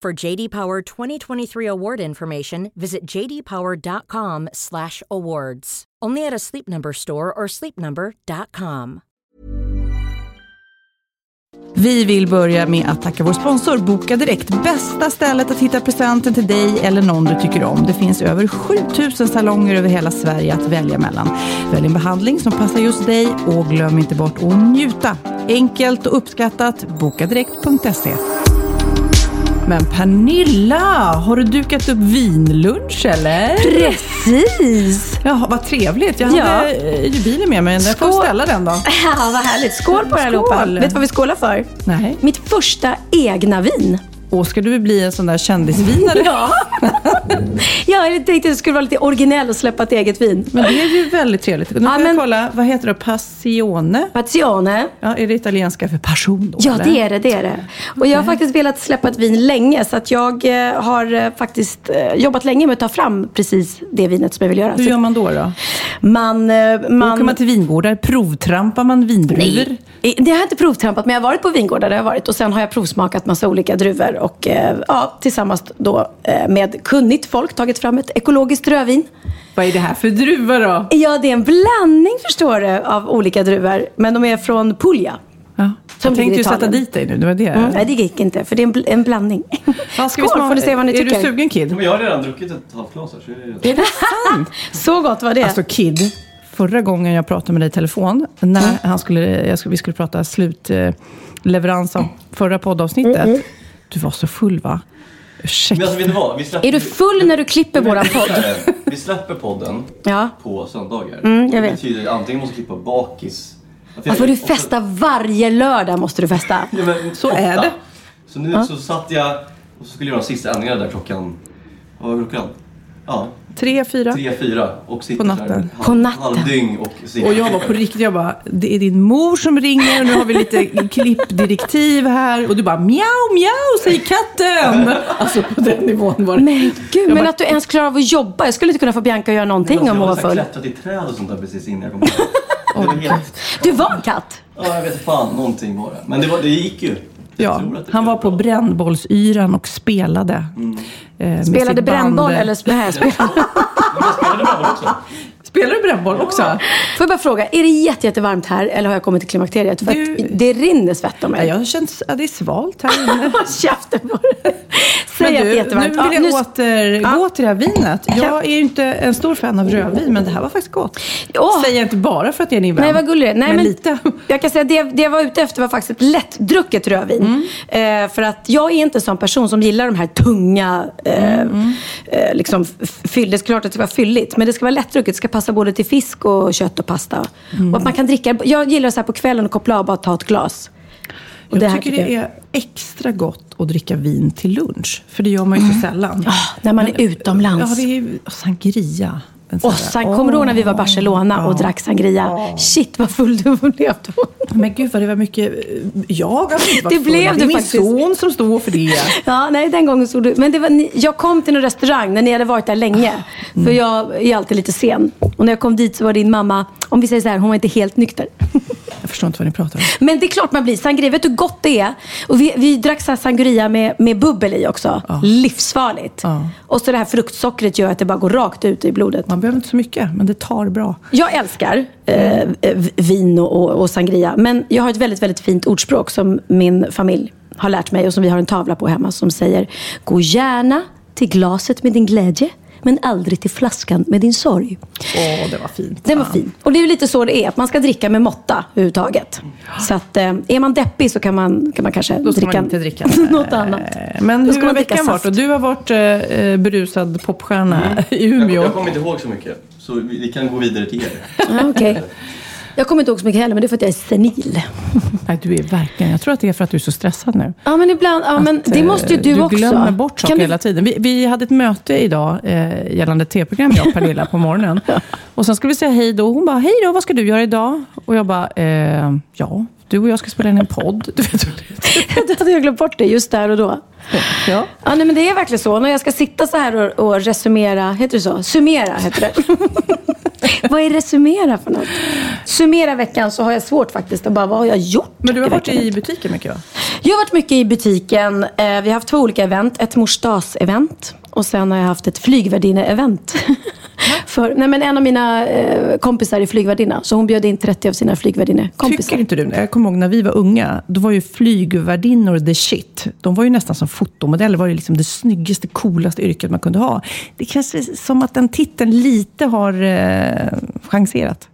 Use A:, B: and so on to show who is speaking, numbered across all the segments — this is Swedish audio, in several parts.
A: For JD Power 2023 award information, visit jdpower.com/awards. Only at a Sleep Number store or sleepnumber.com.
B: Vi vill börja med att tacka vår sponsor Boka Direkt. Bästa stället att hitta presenten till dig eller någon du tycker om. Det finns över 7000 salonger över hela Sverige att välja mellan. Välj en behandling som passar just dig och glöm inte bort att njuta. Enkelt och uppskattat. Bokadirekt.se. Men Pernilla, har du dukat upp vinlunch eller?
C: Precis!
B: Jaha, vad trevligt. Jag hade eh, ju bilen med mig, men jag får
C: Skål.
B: ställa den då.
C: Ja, vad härligt. Skål på er allihopa.
B: Skål.
C: Vet du vad vi skålar för?
B: Nej.
C: Mitt första egna vin.
B: Åh, ska du bli en sån där kändisvinare?
C: Ja. ja, jag tänkte att det skulle vara lite originell och släppa ett eget vin.
B: Men det är ju väldigt trevligt. Nu får
C: men-
B: jag kolla, vad heter det? Passione?
C: Pazione.
B: Ja, är det italienska för passion då?
C: Ja,
B: eller?
C: det är det. det, är det. Och jag har faktiskt velat släppa ett vin länge så att jag eh, har eh, faktiskt eh, jobbat länge med att ta fram precis det vinet som jag vill göra.
B: Hur
C: Så
B: gör man då? då?
C: man, eh,
B: Åker man till vingårdar, provtrampar man vindruvor?
C: Eh, Det har jag inte provtrampat, men jag har varit på vingårdar. Det har jag varit. Och sen har jag provsmakat massa olika druvor. Och eh, ja, tillsammans då eh, med kunnigt folk tagit fram ett ekologiskt rödvin.
B: Vad är det här för druva då?
C: Ja, det är en blandning förstår du av olika druvor. Men de är från Puglia.
B: Ja.
C: Som ligger
B: Jag tänkte
C: i
B: ju sätta
C: Italien.
B: dit dig nu, det var det.
C: Nej, det gick inte, för det är en, bl- en blandning.
B: Ja, Mm. ska vi
C: Skål,
B: smaka-
C: får ni se vad ni
B: Är
C: tycker.
B: du sugen kid?
D: Men jag har redan druckit ett halvt glas här. Så det är...
C: Så gott var det.
B: Alltså Kid, förra gången jag pratade med dig i telefon, när
C: Mm.
B: han skulle, jag skulle, vi skulle prata slutleverans av förra poddavsnittet.
C: Mm,
B: Du var så full va?
D: Men
B: Ursäkta.
D: alltså, vet du vad? Vi släpper...
C: är du full när du klipper våran podd?
D: Vi släpper podden
C: Ja.
D: på söndagar.
C: jag vet.
D: Det betyder att antingen måste vi klippa bakis.
C: Då får du festa varje lördag. måste du festa.
D: Ja, men,
B: Så är det.
D: Så nu så satt jag och så skulle jag göra de sista ändringarna där klockan... Vad var klockan? Ja,
B: Tre, fyra.
D: tre, fyra. Och sitter
B: På natten.
D: Där,
C: På natten.
D: Halvdygn och sitter Alltså,
B: Och jag var på riktigt, jag bara, det är din mor som ringer och nu har vi lite klippdirektiv här. Och du bara, mjau, mjau, säger katten. Alltså på den nivån var det.
C: Men gud, men att du ens klarar av att jobba. Jag skulle inte kunna få Bianca att göra någonting om hon var
D: Jag
C: full.
D: hade så här klättrat i träd och sånt där precis innan jag kom hit. Det var helt...
C: Du var en katt.
D: Ja, jag vet fan. Någonting var det. Men det, var, det gick ju. Jag
B: Ja,
D: tror att det
B: han
D: blev
B: var på
D: bra.
B: brännbollsyran och spelade. eh,
C: Spelade
B: med sitt band.
C: brännboll eller sp- nej, spelade...
D: Men jag spelade bra också.
B: Spelar du brännboll också?
C: Får jag bara fråga, är det jätte, jättevarmt här eller har jag kommit till klimakteriet? För
B: Du-
C: att det rinner svett om
B: Ja,
C: mig.
B: jag känns, ja, det är svalt här inne.
C: Håll käften på dig.
B: Men
C: Säg att det är
B: du, nu
C: jättevarmt.
B: vill
C: Ja,
B: jag
C: nu-
B: återgå till det här vinet.
C: Ja.
B: Jag är ju inte en stor fan av rödvin, men det här var faktiskt gott.
C: Åh.
B: Säger jag inte bara för att jag är din vän.
C: Nej, vad gullig du är. Nej,
B: men, lite.
C: Jag kan säga att det, det jag var ute efter var faktiskt ett lättdrucket rödvin.
B: Mm.
C: Eh, för att jag är inte en sån person som gillar de här tunga, eh,
B: Mm,
C: eh, liksom f- fyll. Det är klart att det ska vara fylligt, men det ska vara lättdrucket. Det ska passa både till fisk och kött och pasta.
B: Mm.
C: Och att man kan dricka. Jag gillar så här på kvällen och koppla av och bara ta ett glas. Och
B: Jag
C: här
B: tycker det är extra gott att dricka vin till lunch, för det gör man ju så sällan.
C: Ja, Mm. Ah, när man är utomlands.
B: Ja, det är ju och sangria. En sån
C: Och
B: där-
C: sen, kommer du ihåg när vi var i Barcelona och drack sangria? Shit vad full du blev då.
B: Men gud vad det var mycket... Jag har inte varit
C: Det blev
B: full.
C: du
B: är min
C: faktiskt.
B: son som står för det.
C: Ja, nej den gången stod du. Men det var, ni- jag kom till en restaurang när ni hade varit där länge. För jag är alltid lite sen. Och när jag kom dit så var din mamma, om vi säger så här, hon var inte helt nykter.
B: Jag förstår inte vad ni pratar om.
C: Men det är klart man blir sangria. Vet du hur gott det är? Och vi, vi drack så här sangria med, med bubbel i också. Livsfarligt.
B: Ja.
C: Och så det här fruktsockret gör att det bara går rakt ut i blodet.
B: Man behöver inte så mycket, men det tar bra.
C: Jag älskar eh, eh, vin och, och, och sangria, men jag har ett väldigt, väldigt fint ordspråk som min familj har lärt mig och som vi har en tavla på hemma som säger Gå gärna till glaset med din glädje men aldrig till flaskan med din sorg.
B: Åh, det var fint.
C: Den var fin. Och det är ju lite så det är, att man ska dricka med måtta överhuvudtaget. Så att, eh, är man deppig så kan man, kan man kanske
B: Då ska
C: dricka,
B: man inte dricka
C: något annat.
B: Eh, Men
C: Då
B: hur
C: ska
B: har
C: man dricka
B: veckan varit?
C: saft.
B: Och du har varit eh, eh, berusad popstjärna i
D: Jag,
B: Umeå.
D: Mm. jag kommer inte ihåg så mycket, så vi, vi kan gå vidare till er.
C: Ja, Ah, okej. Jag kommer inte ihåg så mycket heller, men det är för att jag är senil.
B: Nej, du är verkligen... Jag tror att det är för att du är så stressad nu.
C: Ja, men ibland. Ja, men det
B: Eh,
C: måste ju du, också.
B: glömmer bort saker
C: Kan du-
B: hela tiden. Vi, vi hade ett möte idag eh, gällande tv-program, jag och Pernilla, på morgonen. Och sen skulle vi säga hej då. Hon bara, hej då, vad ska du göra idag? Och jag bara, eh, ja, du och jag ska spela in en podd. Du vet hur det är.
C: Då hade jag glömt bort det just där och då.
B: Ja.
C: Ja, nej, men det är verkligen så. När jag ska sitta så här och, och resumera, heter det så? Summera heter det. vad är resumera för något? Summera veckan så har jag svårt faktiskt att bara, vad har jag gjort?
B: Men du har varit
C: veckan?
B: i butiken mycket, va?
C: Jag har varit mycket i butiken. Eh, Vi har haft två olika event. Ett mors dags-event och sen har jag haft ett flygvärdinne-event. För, nej men en av mina eh, kompisar är flygvärdinna, så hon bjöd in 30 av sina flygvärdinnekompisar.
B: Tycker inte du Jag kommer ihåg när vi var unga, då var ju flygvärdinnor the shit. De var ju nästan som fotomodeller, var ju liksom det snyggaste, coolaste yrket man kunde ha. Det känns som att den titeln lite har eh, chanserat.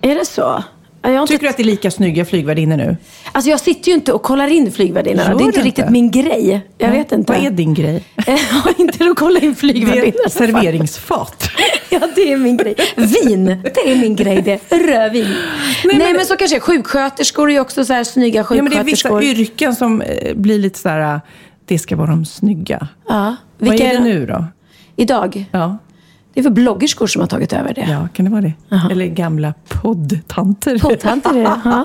C: Är det så? Ja, Jag, har
B: Tycker
C: inte,
B: du att det är lika snygga flygvärdinnor nu?
C: alltså jag sitter ju inte och kollar in flygvärdinnorna.
B: Gör
C: Det är inte
B: du inte?
C: riktigt min grej. Jag vet inte.
B: Vad är din grej?
C: Ja, inte att kolla in
B: Det är
C: flygvärdinnor.
B: serveringsfat.
C: Ja, det är min grej. Vin, det är min grej det. Rödvin. Nej, men, så kanske är sjuksköterskor är ju också så här snygga
B: Ja, men det är vissa
C: sjuksköterskor.
B: yrken som eh, blir lite så här, eh, det ska vara de snygga.
C: Ja,
B: Vad
C: vilka
B: är det
C: de-
B: nu då?
C: Idag?
B: Ja,
C: Det är för bloggerskor som har tagit över det.
B: ja kan det vara det? Eller gamla poddtanter.
C: Poddtanter är det. Ja.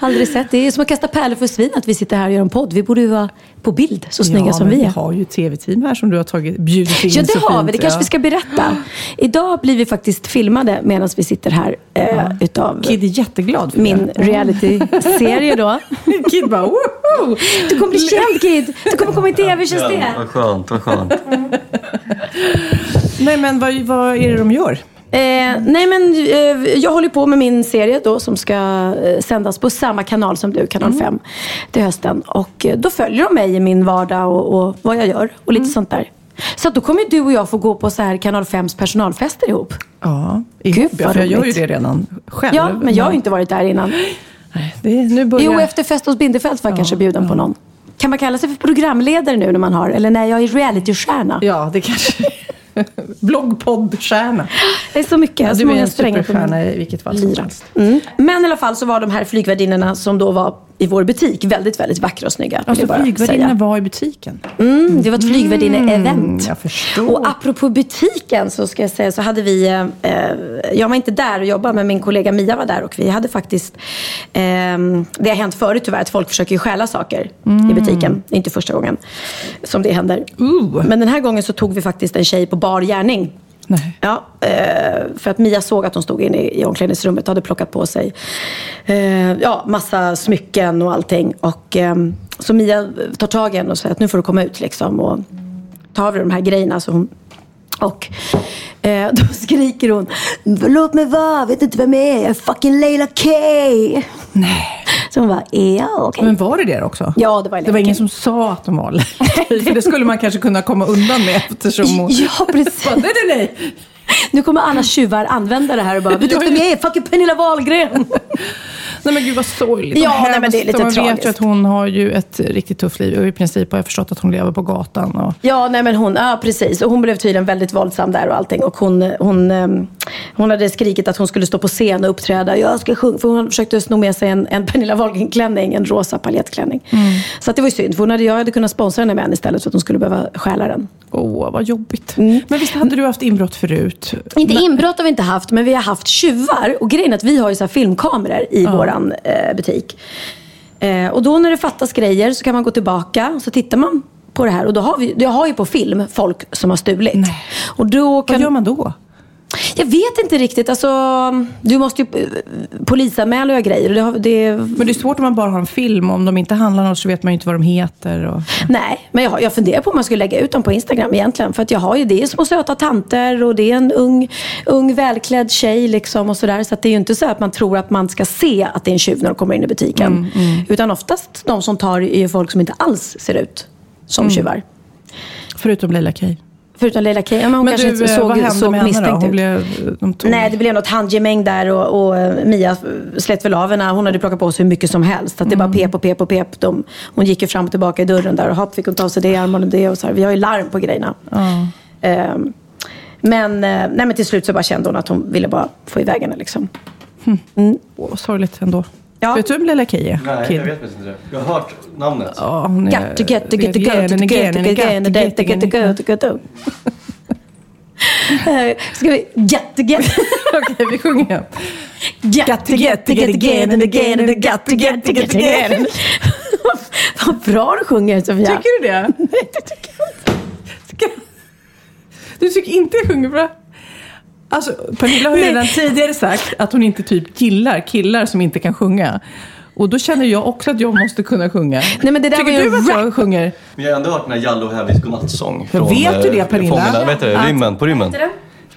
C: Aldrig sett. Det är som att kasta pärlor för svin att vi sitter här och gör en podd. Vi borde ju vara på bild, så snygga
B: ja,
C: som
B: men
C: vi
B: vi
C: är.
B: har ju ett tv-team här som du har tagit, bjudit in
C: Ja, det
B: så
C: har
B: fint,
C: vi. Det kanske
B: ja.
C: vi ska berätta. Idag blir vi faktiskt filmade medan vi sitter här eh, utav
B: Kid är jätteglad för
C: min
B: det.
C: reality-serie då.
B: Kid bara woho!
C: Du kommer bli känd Kid! Du kommer komma i TV, känns det?
D: Vad skönt, vad skönt.
B: Nej men vad, vad är det de gör?
C: Eh, nej men eh, jag håller på med min serie då som ska eh, sändas på samma kanal som du, kanal 5, till hösten. Och eh, då följer de mig i min vardag och, och vad jag gör och lite sånt där. Så att då kommer du och jag få gå på så här kanal 5s personalfester ihop.
B: Ja,
C: Gud,
B: ihop,
C: vad
B: ja, för jag gör ju
C: roligt.
B: det redan själv.
C: Ja, men jag har ju inte varit där innan.
B: Nej, det, nu börjar...
C: Jo, efter fest hos Bindefeld var jag kanske bjuden på någon. Kan man kalla sig för programledare nu när man har, eller nej, jag är realitystjärna.
B: Ja, det kanske... Bloggpoddstjärna.
C: Det är så mycket,
B: Ja,
C: så
B: du är
C: många
B: en
C: strängar på min
B: superstjärna i vilket fall som
C: lyra.
B: helst.
C: Mm. Men i alla fall så var de här flygvärdinnorna som då var i vår butik väldigt, väldigt vackra och snygga. vill
B: Alltså
C: jag bara
B: flygvärdinnan
C: säga.
B: var i butiken.
C: Mm, det var ett flygvärdinne-event.
B: jag förstår.
C: Och apropå butiken så ska jag säga så hade vi, eh, eh, jag var inte där och jobbade men min kollega Mia var där och vi hade faktiskt, eh, det har hänt förut tyvärr att folk försöker ju stjäla saker
B: Mm.
C: i butiken. Det är inte första gången som det händer.
B: Ooh.
C: Men den här gången så tog vi faktiskt en tjej på bar gärning.
B: Nej.
C: Ja, eh, för att Mia såg att hon stod inne i i omklädningsrummet och hade plockat på sig eh, ja, massa smycken och allting. Och, ehm, så Mia tar tag i henne och säger att nu får du komma ut liksom och ta av dig de här grejerna. Så hon, och eh, då skriker hon, låt mig vara, vet inte vem jag är, jag är fucking Leila K.
B: Nej.
C: Så hon bara, ja okej.
B: Men var det det också?
C: Ja, det var
B: Det var ingen
C: läckert.
B: som sa att de var allergiker, för Det skulle man kanske kunna komma undan med eftersom hon...
C: Ja, precis.
B: Bara, nej, nej, nej.
C: Nu kommer alla tjuvar använda det här och bara, vet du inte vem jag är, fucking Pernilla Wahlgren.
B: Nej men gud vad sorgligt.
C: Ja,
B: och
C: nej, men det är
B: hemskt.
C: lite
B: Och man vet
C: tragiskt.
B: ju att hon har ju ett riktigt tufft liv. Och i princip har jag förstått att hon lever på gatan. Och...
C: Ja, nej men hon, ja precis. Och hon blev tydligen väldigt våldsam där och allting. Och hon, hon, ehm, hon hade skrikit att hon skulle stå på scen och uppträda. Jag ska sjunga. För hon försökte sno med sig en, en Pernilla Wahlgren-klänning, en rosa paljettklänning. Så att det var ju synd. För hon hade, jag hade kunnat sponsra henne med en istället för att hon skulle behöva stjäla den.
B: Åh, vad jobbigt.
C: Mm.
B: Men visst hade du haft inbrott förut?
C: Inte inbrott har vi inte haft, men vi har haft tjuvar. Och grejen är att vi har ju så här filmkameror i våran eh, butik. Eh, och då när det fattas grejer så kan man gå tillbaka och så tittar man på det här. Och då har vi, jag har ju på film folk som har stulit. Och då kan,
B: Vad gör man då?
C: Ja, Jag vet inte riktigt. Alltså, du måste ju eh, polisanmäla och grejer. Och det har, det,
B: Men det är svårt om man bara har en film. Om de inte handlar något så vet man ju inte vad de heter. Och...
C: Nej, men jag, har- jag funderar på om man skulle lägga ut dem på Instagram egentligen. För att jag har ju, det är små söta tanter och det är en ung, ung välklädd tjej liksom och sådär. Så att det är ju inte så att man tror att man ska se att det är en tjuv när de kommer in i butiken.
B: Mm,
C: Utan oftast de som tar är ju folk som inte alls ser ut som
B: Mm.
C: tjuvar.
B: Förutom Leila K.
C: Förutom Leila Kay, ja, men hon
B: Men
C: kanske
B: du, eh,
C: inte såg,
B: vad hände
C: såg
B: med henne då?
C: misstänkt
B: Hon
C: ut.
B: blev, eh, de tog...
C: Nej, det blev något handgemäng där och, och eh, Mia slet väl av henne. Hon hade plockat på sig hur mycket som helst. Att det
B: Mm.
C: bara pep och pep och pep. De, hon gick ju fram och tillbaka i dörren där och hopp fick hon ta av sig det i armarna och det. Och så här. Vi har ju larm på grejerna. Ehm, men, eh, nej, men till slut så bara kände hon att hon ville bara få iväg henne. Liksom.
B: Åh, sorgligt ändå.
C: Ja.
B: Vet du vem Leila K är?
D: Nej,
B: Kid?
D: jag vet faktiskt inte det. Jag har hört namnet.
B: Ja, hon är...
C: Got to get to get to go, to
B: Genen,
C: get to
B: genen,
C: get
B: genen,
C: to get to get to
B: genen.
C: go, to get to. Eh, Ska vi... Get to get...
B: Okej, vi sjunger igen.
C: Got to get to get again and again and got to get to get again. Vad bra du sjunger Sofia.
B: Tycker du det?
C: Nej, det tycker jag inte.
B: Ska- Du tycker inte jag sjunger bra? Alltså, Pernilla har ju
C: Nej.
B: redan tidigare sagt att hon inte typ gillar killar som inte kan sjunga. Och då känner jag också att jag måste kunna sjunga.
C: Nej, men det där
B: tycker
C: var ju
B: du att
C: rap.
B: jag sjunger?
D: Men jag har ändå hört den här Jallo och Heavis godnattsång.
B: vet du det,
D: eh,
B: Pernilla?
D: Fångarna, vad heter det? Rymmen, på rymmen.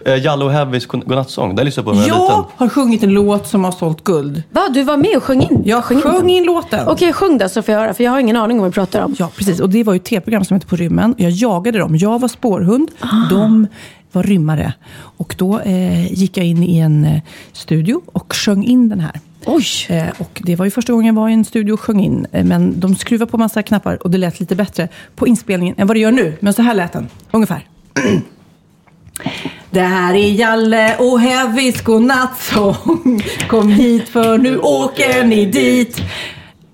D: Eh, Jallo och Heavis god- godnattsång. Den lyssnade jag på när jag var
B: Jag
D: liten.
B: har sjungit en låt som har sålt guld.
C: Va, du var med och sjöng in?
B: Jag
C: Sjöng
B: sjöng
C: den.
B: in låten.
C: Okej, sjung då så får jag höra. För jag har ingen aning om vad du pratar om.
B: Ja, precis. Och det var ju ett tv-program som hette På rymmen. Jag jagade dem. Jag var spårhund, de var rymmare. Och då eh, gick jag in i en eh, studio och sjöng in den här.
C: Oj!
B: Eh, och det var ju första gången jag var i en studio och sjöng in. Eh, men de skruvade på massa knappar och det lät lite bättre på inspelningen än vad det gör nu. Men så här lät den, ungefär. Det här är Jalle och Heavis godnattsång. Kom hit för nu åker ni dit.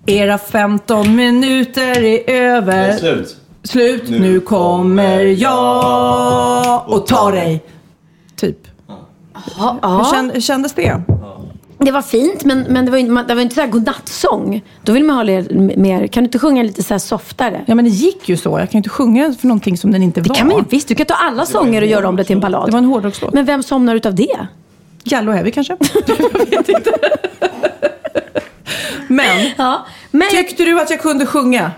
B: Era 15 minuter är
D: Det
B: över.
D: är slut.
B: Slut, nu, kommer jag och tar dig. Typ. Hur
C: Ja,
B: kän- kändes det?
C: det var fint men, men det var ju inte- man- det var inte såhär godnattsång. Då vill man ha le- mer. Kan du inte sjunga lite såhär softare?
B: Ja men det gick ju så. Jag kan ju inte sjunga för någonting som den inte var.
C: Det kan man ju visst. Du kan ta alla sånger och göra om det till en ballad.
B: Det var en hårdrockslåt.
C: Men vem somnar utav det?
B: Jallo Heavy kanske? jag vet inte. men,
C: Ja, men...
B: tyckte du att jag kunde sjunga?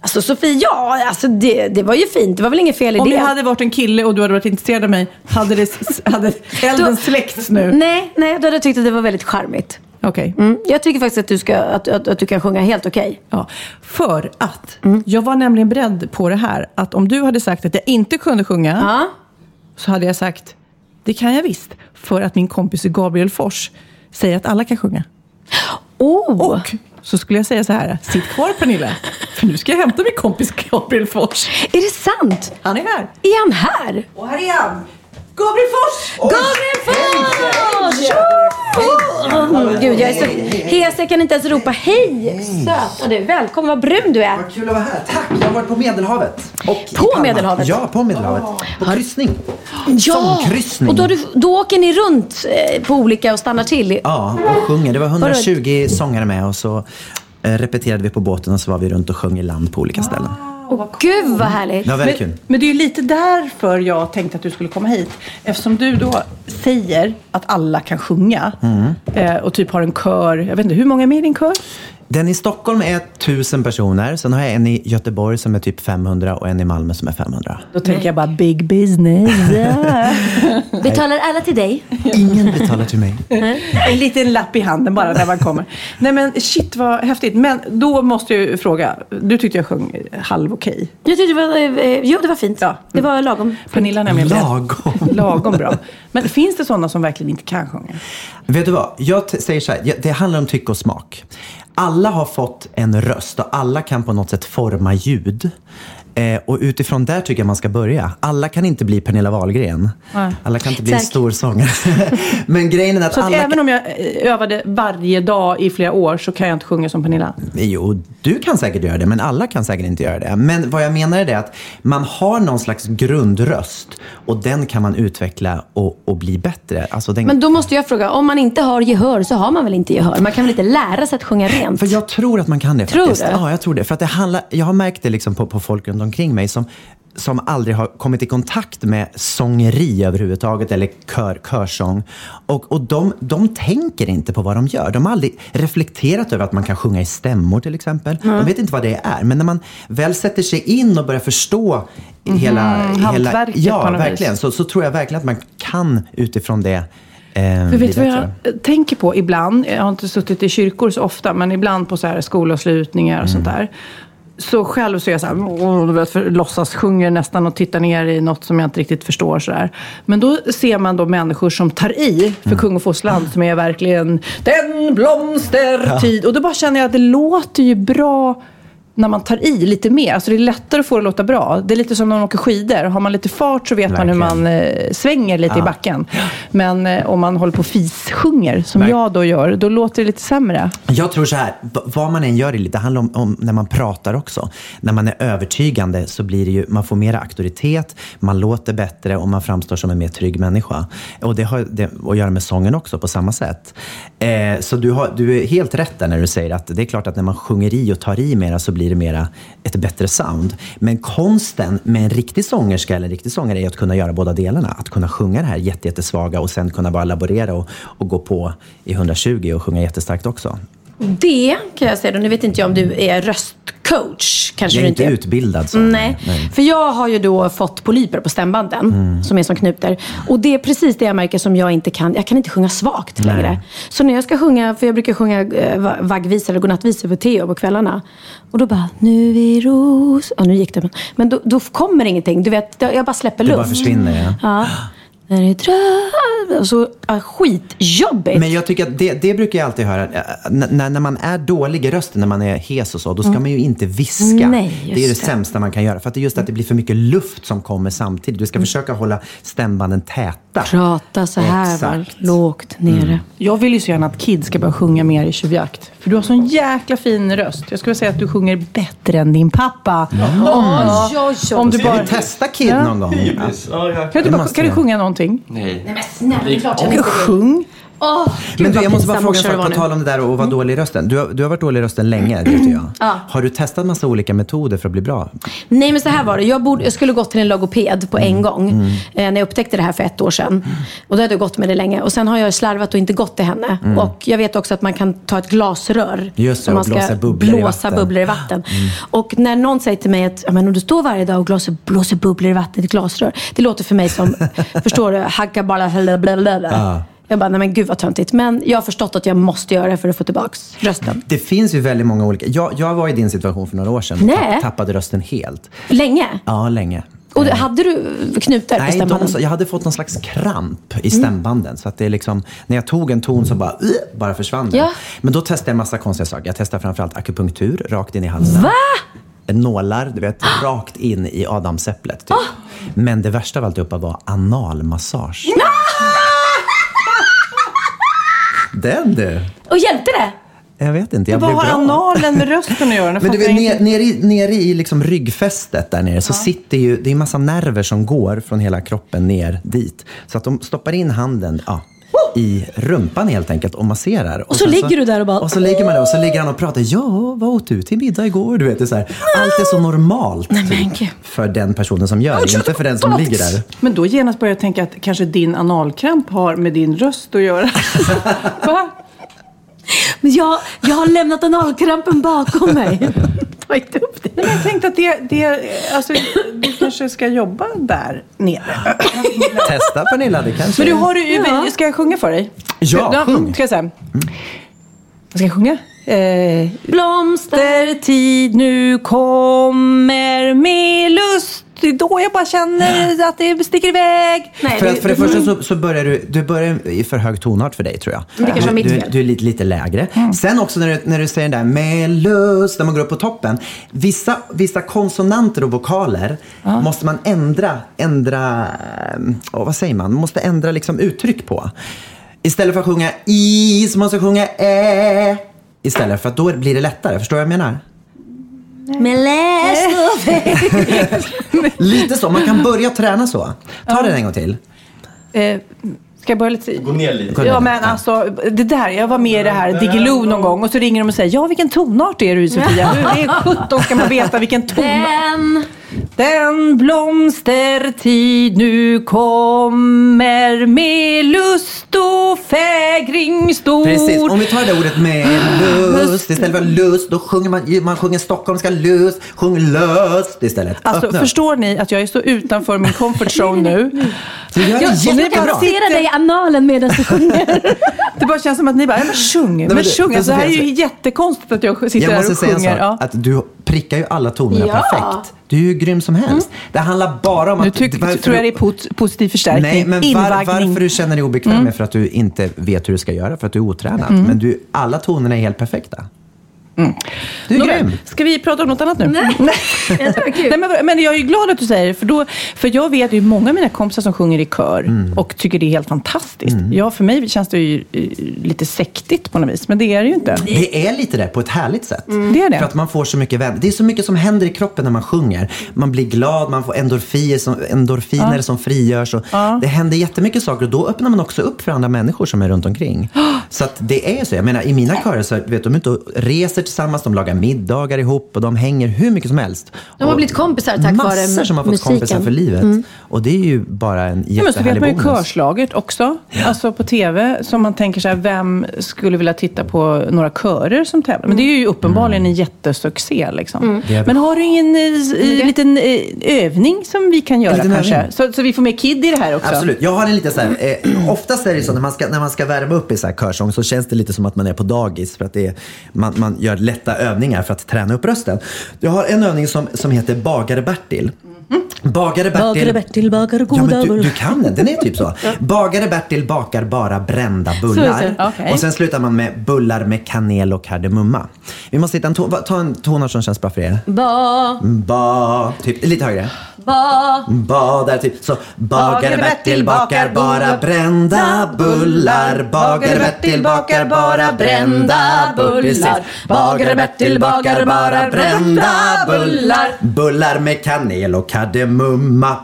C: Alltså Sofie, ja, alltså det, det var ju fint. Det var väl inget fel i
B: Om
C: det.
B: jag hade varit en kille och du hade varit intresserad av mig, hade, det, s- hade elden
C: Då-
B: släckts nu?
C: Nej, nej, då hade jag tyckt att det var väldigt charmigt.
B: Okej.
C: Mm. Jag tycker faktiskt att du, ska, att, att, att du kan sjunga helt okej.
B: Ja, för att jag var nämligen beredd på det här. Att om du hade sagt att jag inte kunde sjunga,
C: Ja.
B: så hade jag sagt det kan jag visst. För att min kompis Gabriel Fors säger att alla kan sjunga.
C: Oh.
B: Och så skulle jag säga så här, sitt kvar Pernilla, för nu ska jag hämta min kompis Gabriel Fors.
C: Är det sant?
B: Han är här.
C: Är han här?
B: Och här är han, Gabriel Fors!
C: Gabriel Fors! Oh, gud, jag är så hes. Jag kan inte ens ropa hej. Söta du. Välkommen, vad brun du är.
E: Vad kul att vara här. Tack! Jag har varit på Medelhavet. Och i
C: På
E: Palma.
C: Medelhavet? Ah.
E: Ja, på Medelhavet. På kryssning. Sångkryssning.
C: Och då, har du, då åker ni runt eh, på olika och stannar till.
E: Ja, och sjunger. Det var 120 sångare med och så eh, repeterade vi på båten och så var vi runt och sjöng i land på olika ställen.
C: Åh, gud vad härligt.
E: Det var väldigt kul.
B: Men det är ju lite därför jag tänkte att du skulle komma hit. Eftersom du då säger att alla kan sjunga eh, och typ har en kör, jag vet inte, hur många är med i din kör?
E: Den i Stockholm är 1000 personer. Sen har jag en i Göteborg som är typ 500 och en i Malmö som är 500.
B: Då tänker jag bara big business.
C: Betalar alla till dig?
E: Ingen betalar till mig.
B: en liten lapp i handen bara när man kommer. Nej men shit vad häftigt. Men då måste jag ju fråga, du tyckte jag sjöng halv okej.
C: Jag tyckte det var, eh, jo, det var fint.
B: Ja.
C: Det var lagom.
B: Pernilla har nämligen
E: Lagom.
B: Lagom bra. Men finns det sådana som verkligen inte kan sjunga?
E: Vet du vad? Jag t- säger så här, jag- det handlar om tycke och smak. Alla har fått en röst och alla kan på något sätt forma ljud. Eh, och utifrån där tycker jag man ska börja. Alla kan inte bli Pernilla Wahlgren. Alla kan inte bli en
C: Tack.
E: stor sångare. Men grejen är att
B: Så att
E: alla...
B: även om jag eh, övade varje dag i flera år så kan jag inte sjunga som Pernilla?
E: Jo, du kan säkert göra det, men alla kan säkert inte göra det. Men vad jag menar är det att man har någon slags grundröst och den kan man utveckla och, och bli bättre. Alltså den...
C: Men då måste jag fråga, om man inte har gehör så har man väl inte gehör? Man kan väl inte lära sig att sjunga rent?
E: För jag tror att man kan det
C: Tror
E: faktiskt.
C: du?
E: Ja, jag tror det. För att det handlar, jag har märkt det liksom på, på folk runt omkring mig som som aldrig har kommit i kontakt med sångeri överhuvudtaget eller kör, körsång. Och, och de, de tänker inte på vad de gör. De har aldrig reflekterat över att man kan sjunga i stämmor till exempel.
B: Mm.
E: De vet inte vad det är. Men när man väl sätter sig in och börjar förstå hela... hela
B: Mhm. hantverket på
E: ja,
B: något
E: verkligen.
B: vis.
E: Så, så tror jag verkligen att man kan utifrån det. Eh,
B: För
E: bli
B: vet du vad jag
E: bättre.
B: tänker på ibland? Jag har inte suttit i kyrkor så ofta, men ibland på så här skolavslutningar och sånt där. Så själv så är jag så här, åh, du vet, för, låtsas sjunger nästan och tittar ner i något som jag inte riktigt förstår. Så där. Men då ser man då människor som tar i för kung och fosterland som är verkligen den blomstertid. Och då bara känner jag att det låter ju bra när man tar i lite mer. Alltså det är lättare att få det att låta bra. Det är lite som när man åker skidor. Har man lite fart så vet man hur
E: Verkligen.
B: man eh, svänger lite i
E: Ah.
B: backen. Men eh, om man håller på och fissjunger, som
E: Verk-
B: jag då gör, då låter det lite sämre.
E: Jag tror så här, v- vad man än gör i livet, det handlar om, om när man pratar också. När man är övertygande så blir det ju, man får mer auktoritet, man låter bättre och man framstår som en mer trygg människa. Och det har det, att göra med sången också på samma sätt. Eh, så du, har, du är helt rätt där när du säger att det är klart att när man sjunger i och tar i mera så blir det mera ett bättre sound. Men konsten med en riktig sångerska eller en riktig sångare är att kunna göra båda delarna. Att kunna sjunga det här jätte, jättesvaga och sen kunna bara laborera och, och gå på i 120 och sjunga jättestarkt också.
C: Det kan jag säga då. Nu vet inte jag om du är röstcoach. Kanske
E: Jag är
C: du
E: inte
C: är.
E: utbildad så.
C: Nej. för jag har ju då fått polyper på stämbanden
E: Mm.
C: som är som knutar. Och det är precis det jag märker som jag inte kan. Jag kan inte sjunga svagt längre. Så när jag ska sjunga, för jag brukar sjunga eh, va- vaggvisor eller godnattvisor för Theo på kvällarna. Och då bara, nu är ros... Ja, nu gick det. Men, men då, då kommer ingenting. Du vet, jag bara släpper
E: Det
C: luft.
E: bara försvinner, ja.
C: Ja. När det drar... och Så, ja, skitjobbigt.
E: Men jag tycker att det, det brukar jag alltid höra. eh, N- när, när man är dålig i rösten, när man är hes och så, då ska man ju inte viska.
C: Mm. Nej, just
E: det är det
C: det.
E: sämsta man kan göra. För att det är just att det blir för mycket luft som kommer samtidigt. Du ska
C: Mm.
E: försöka hålla stämbanden täta.
C: Prata så här va,
E: Exakt. Mm.
C: lågt nere.
B: Jag vill ju så gärna att kids ska börja sjunga mer i tjuvjakt. För du har sån jäkla fin röst. Jag skulle säga att du sjunger bättre än din pappa. Om, om du
E: Ska
B: bara...
E: vi testa Kid
B: Ja.
E: någon gång?
D: Ja, jag
B: Kan du,
E: Det
B: bara,
E: måste
B: kan du
E: jag.
B: sjunga någonting?
D: Nej.
C: Nej men snälla, det är klart jag
D: Åh,
C: inte vill.
B: Sjung.
C: Åh,
E: Men
C: gud,
E: du,
C: vad
E: jag måste bara
C: pinsam
E: fråga en
C: morsa
E: sak
C: det var
E: på
C: nu. Mm.
E: tal om det där och vara dålig i rösten. Du, har- du har varit dålig i rösten länge, vet jag. Har du testat massa olika metoder för att bli bra?
C: Nej men så här var det. Jag, borde, jag skulle gått till en logoped på
E: Mm.
C: en gång. Eh, när jag upptäckte det här för ett år sedan. Och då hade jag gått med det länge. Och sen har jag slarvat och inte gått till henne. Och jag vet också att man kan ta ett glasrör.
E: Mm. Just det,
C: och
E: och
C: man ska
E: blåsa bubblor i
C: blåsa
E: vatten. Mm.
C: bubblor i vatten. Och när någon säger till mig att ja, men om du står varje dag och blåser, blåser bubblor i vatten i ett glasrör. Det låter för mig som, förstår du, hacka bara blablabla. Jag bara, nej men gud vad töntigt. Men jag har förstått att jag måste göra det för att få tillbaks rösten.
E: Det finns ju väldigt många olika. Jag, jag var i din situation för några år sedan och
C: Nej.
E: tapp, tappade rösten helt.
C: Länge.
E: Ja, länge.
C: Och du- hade du knutar på
E: Nej,
C: stämbanden?
E: de, jag hade fått någon slags kramp i stämbanden. Så att det är liksom, när jag tog en ton så bara, "Ugh", bara försvann den.
C: Ja.
E: Men då testade jag massa konstiga saker. Jag testade framförallt akupunktur rakt in i halsen. Va? Nålar, du vet, rakt in i adamsäpplet. Typ. Men det värsta av alltihopa var analmassage. Den du!
C: Och hjälpte det?
E: Jag vet inte, jag
B: Vad
E: blev
B: har
E: bra.
B: analen med rösten att göra? Nu
E: Men du
B: fattar
E: vet,
B: jag
E: ner,
B: ingenting.
E: nere i, nere i liksom ryggfästet där nere så sitter ju, det är en massa nerver som går från hela kroppen ner dit. Så att de stoppar in handen ja, i rumpan helt enkelt och masserar. Och,
C: så
E: sen
C: ligger du där och bara-
E: Och så ligger man där och så ligger han och pratar. Ja, vad åt du till middag igår? Du vet, det är så här. Allt är så normalt
C: men gud.
E: för den personen som gör det, inte för den som ligger där.
B: Men då genast börjar jag tänka att kanske din analkramp har med din röst att göra. Va?
C: Men jag, jag har lämnat analkrampen bakom mig. Ta inte upp det.
B: Nej, men jag tänkte att det, det, alltså, du kanske ska jobba där nere.
E: Testa Pernilla, det kanske
B: Men du har ju,
C: Ja.
B: ska jag sjunga för dig?
E: Ja, sjung.
B: Ska jag säga? Vad ska jag sjunga? Eh,
C: Blomster.
B: Vintertid nu kommer med lust. Det är då jag bara känner att det sticker iväg.
C: Nej,
E: För, att, för det första så, så börjar du, du börjar i för hög tonart för dig tror jag.
C: det kanske var
E: du,
C: mitt
E: du,
C: fel. Mm.
E: du är lite, lite lägre. Sen också när du, när du säger den där med lust, när man går upp på toppen. Vissa, vissa konsonanter och vokaler måste man ändra, ändra, oh, vad säger man, måste ändra liksom uttryck på. Istället för att sjunga i så måste jag sjunga ä. Istället för att då blir det lättare, förstår du vad jag menar?
C: Men läs
E: Lite så, man kan börja träna så. Ta den en gång till.
B: Eh, ska jag börja lite?
D: Gå ner lite.
B: Ja men alltså det där, jag var med i det här Diggiloo någon gång och så ringer de och säger ja vilken tonart är du i Sofia? Du är 17 ska man veta vilken tonart.
C: den.
B: Den blomstertid nu kommer med lust och fägring stor.
E: Precis, om vi tar det ordet med lust istället för lust, då sjunger man, man sjunger stockholmska lust, sjunger löst istället.
B: Alltså,
E: Öppna upp.
B: förstår ni att jag är så utanför min comfort zone nu?
E: Du gör det
B: Jag-
C: Jag kan
E: jättebra.
C: placera dig i analen medan du sjunger.
B: Det bara känns som att ni bara, ja, men sjung, men,
E: men det-
B: sjung. Alltså, det här är ju
E: Sofia,
B: jättekonstigt att jag sitter
E: Jag
B: här
E: måste
B: och
E: säga en
B: sjunger.
E: sak,
B: Ja.
E: att du prickar ju alla tonerna
C: Ja.
E: perfekt. Du är ju grym som helst. Det handlar bara om
B: Mm. Nu
E: att...
B: tyck,
E: varför
B: tror jag det
E: du-
B: är pot- positiv förstärkning,
E: Nej, men var,
B: invaggning. Mm.
E: varför du känner dig obekväm är för att du inte vet hur du ska göra, för att du är otränad. Men du, alla tonerna är helt perfekta. Du är
B: Nåväl,
E: grym.
B: Ska vi prata om något annat nu? Nej,
C: Jag tror det är kul.
B: Nej men, men jag är ju glad att du säger det, för, då, för jag vet ju många av mina kompisar som sjunger i kör
E: Mm.
B: och tycker det är helt fantastiskt. Ja, för mig känns det ju eh, lite sektigt på något vis, men det är det ju inte.
E: Det är lite det, på ett härligt sätt.
B: Det är det.
E: För att man får så mycket vän. Det är så mycket som händer i kroppen när man sjunger. Man blir glad, man får endorfiner som, endorfiner som frigörs. Och Det händer jättemycket saker och då öppnar man också upp för andra människor som är runt omkring. Så att det är så. Jag menar, i mina körer så vet de ute och reser tillsammans, de lagar middagar ihop och de hänger hur mycket som helst.
C: De har
E: Och
C: blivit kompisar tack vare
E: Massor som har fått
C: musiken.
E: kompisar för livet. Och det är ju bara en
B: Ja, men så vet
E: jättehärlig
B: man ju
E: bonus.
B: körslaget också, alltså på tv. Så man tänker så här, vem skulle vilja titta på några körer som tävlar? Men det är ju uppenbarligen en jättesuccé. Liksom.
E: Mm. Det är det.
B: Men har du ingen eh, s- eh, liten eh, övning som vi kan göra
E: liten
B: kanske?
E: övning.
B: Så, så vi får med Kid i det här också?
E: Absolut. Jag har en liten så här, eh, oftast är det ju så när man ska, när man ska värma upp i så här körsång så känns det lite som att man är på dagis för att det är, man, man gör lätta övningar för att träna upp rösten. Jag har en övning som, som heter Bagare Bertil. Bagare Bertil,
C: Mhm. Bagare Bertil bakar goda
E: ja, men du, du
C: bullar.
E: kan den, den är typ så. Bagare Bertil bakar bara brända bullar.
B: Så, så, okej.
E: Och sen slutar man med bullar med kanel och kardemumma. Vi måste hitta en, ton- va- ta en tonart som känns bra för er.
C: Ba,
E: Ba, typ, lite högre.
C: ba.
E: Badar typ så Bagare Bertil bakar bara brända bullar Bagare Bertil bakar bara brända bullar Bagare Bertil bakar bara brända bullar Bullar med kanel och kardemumma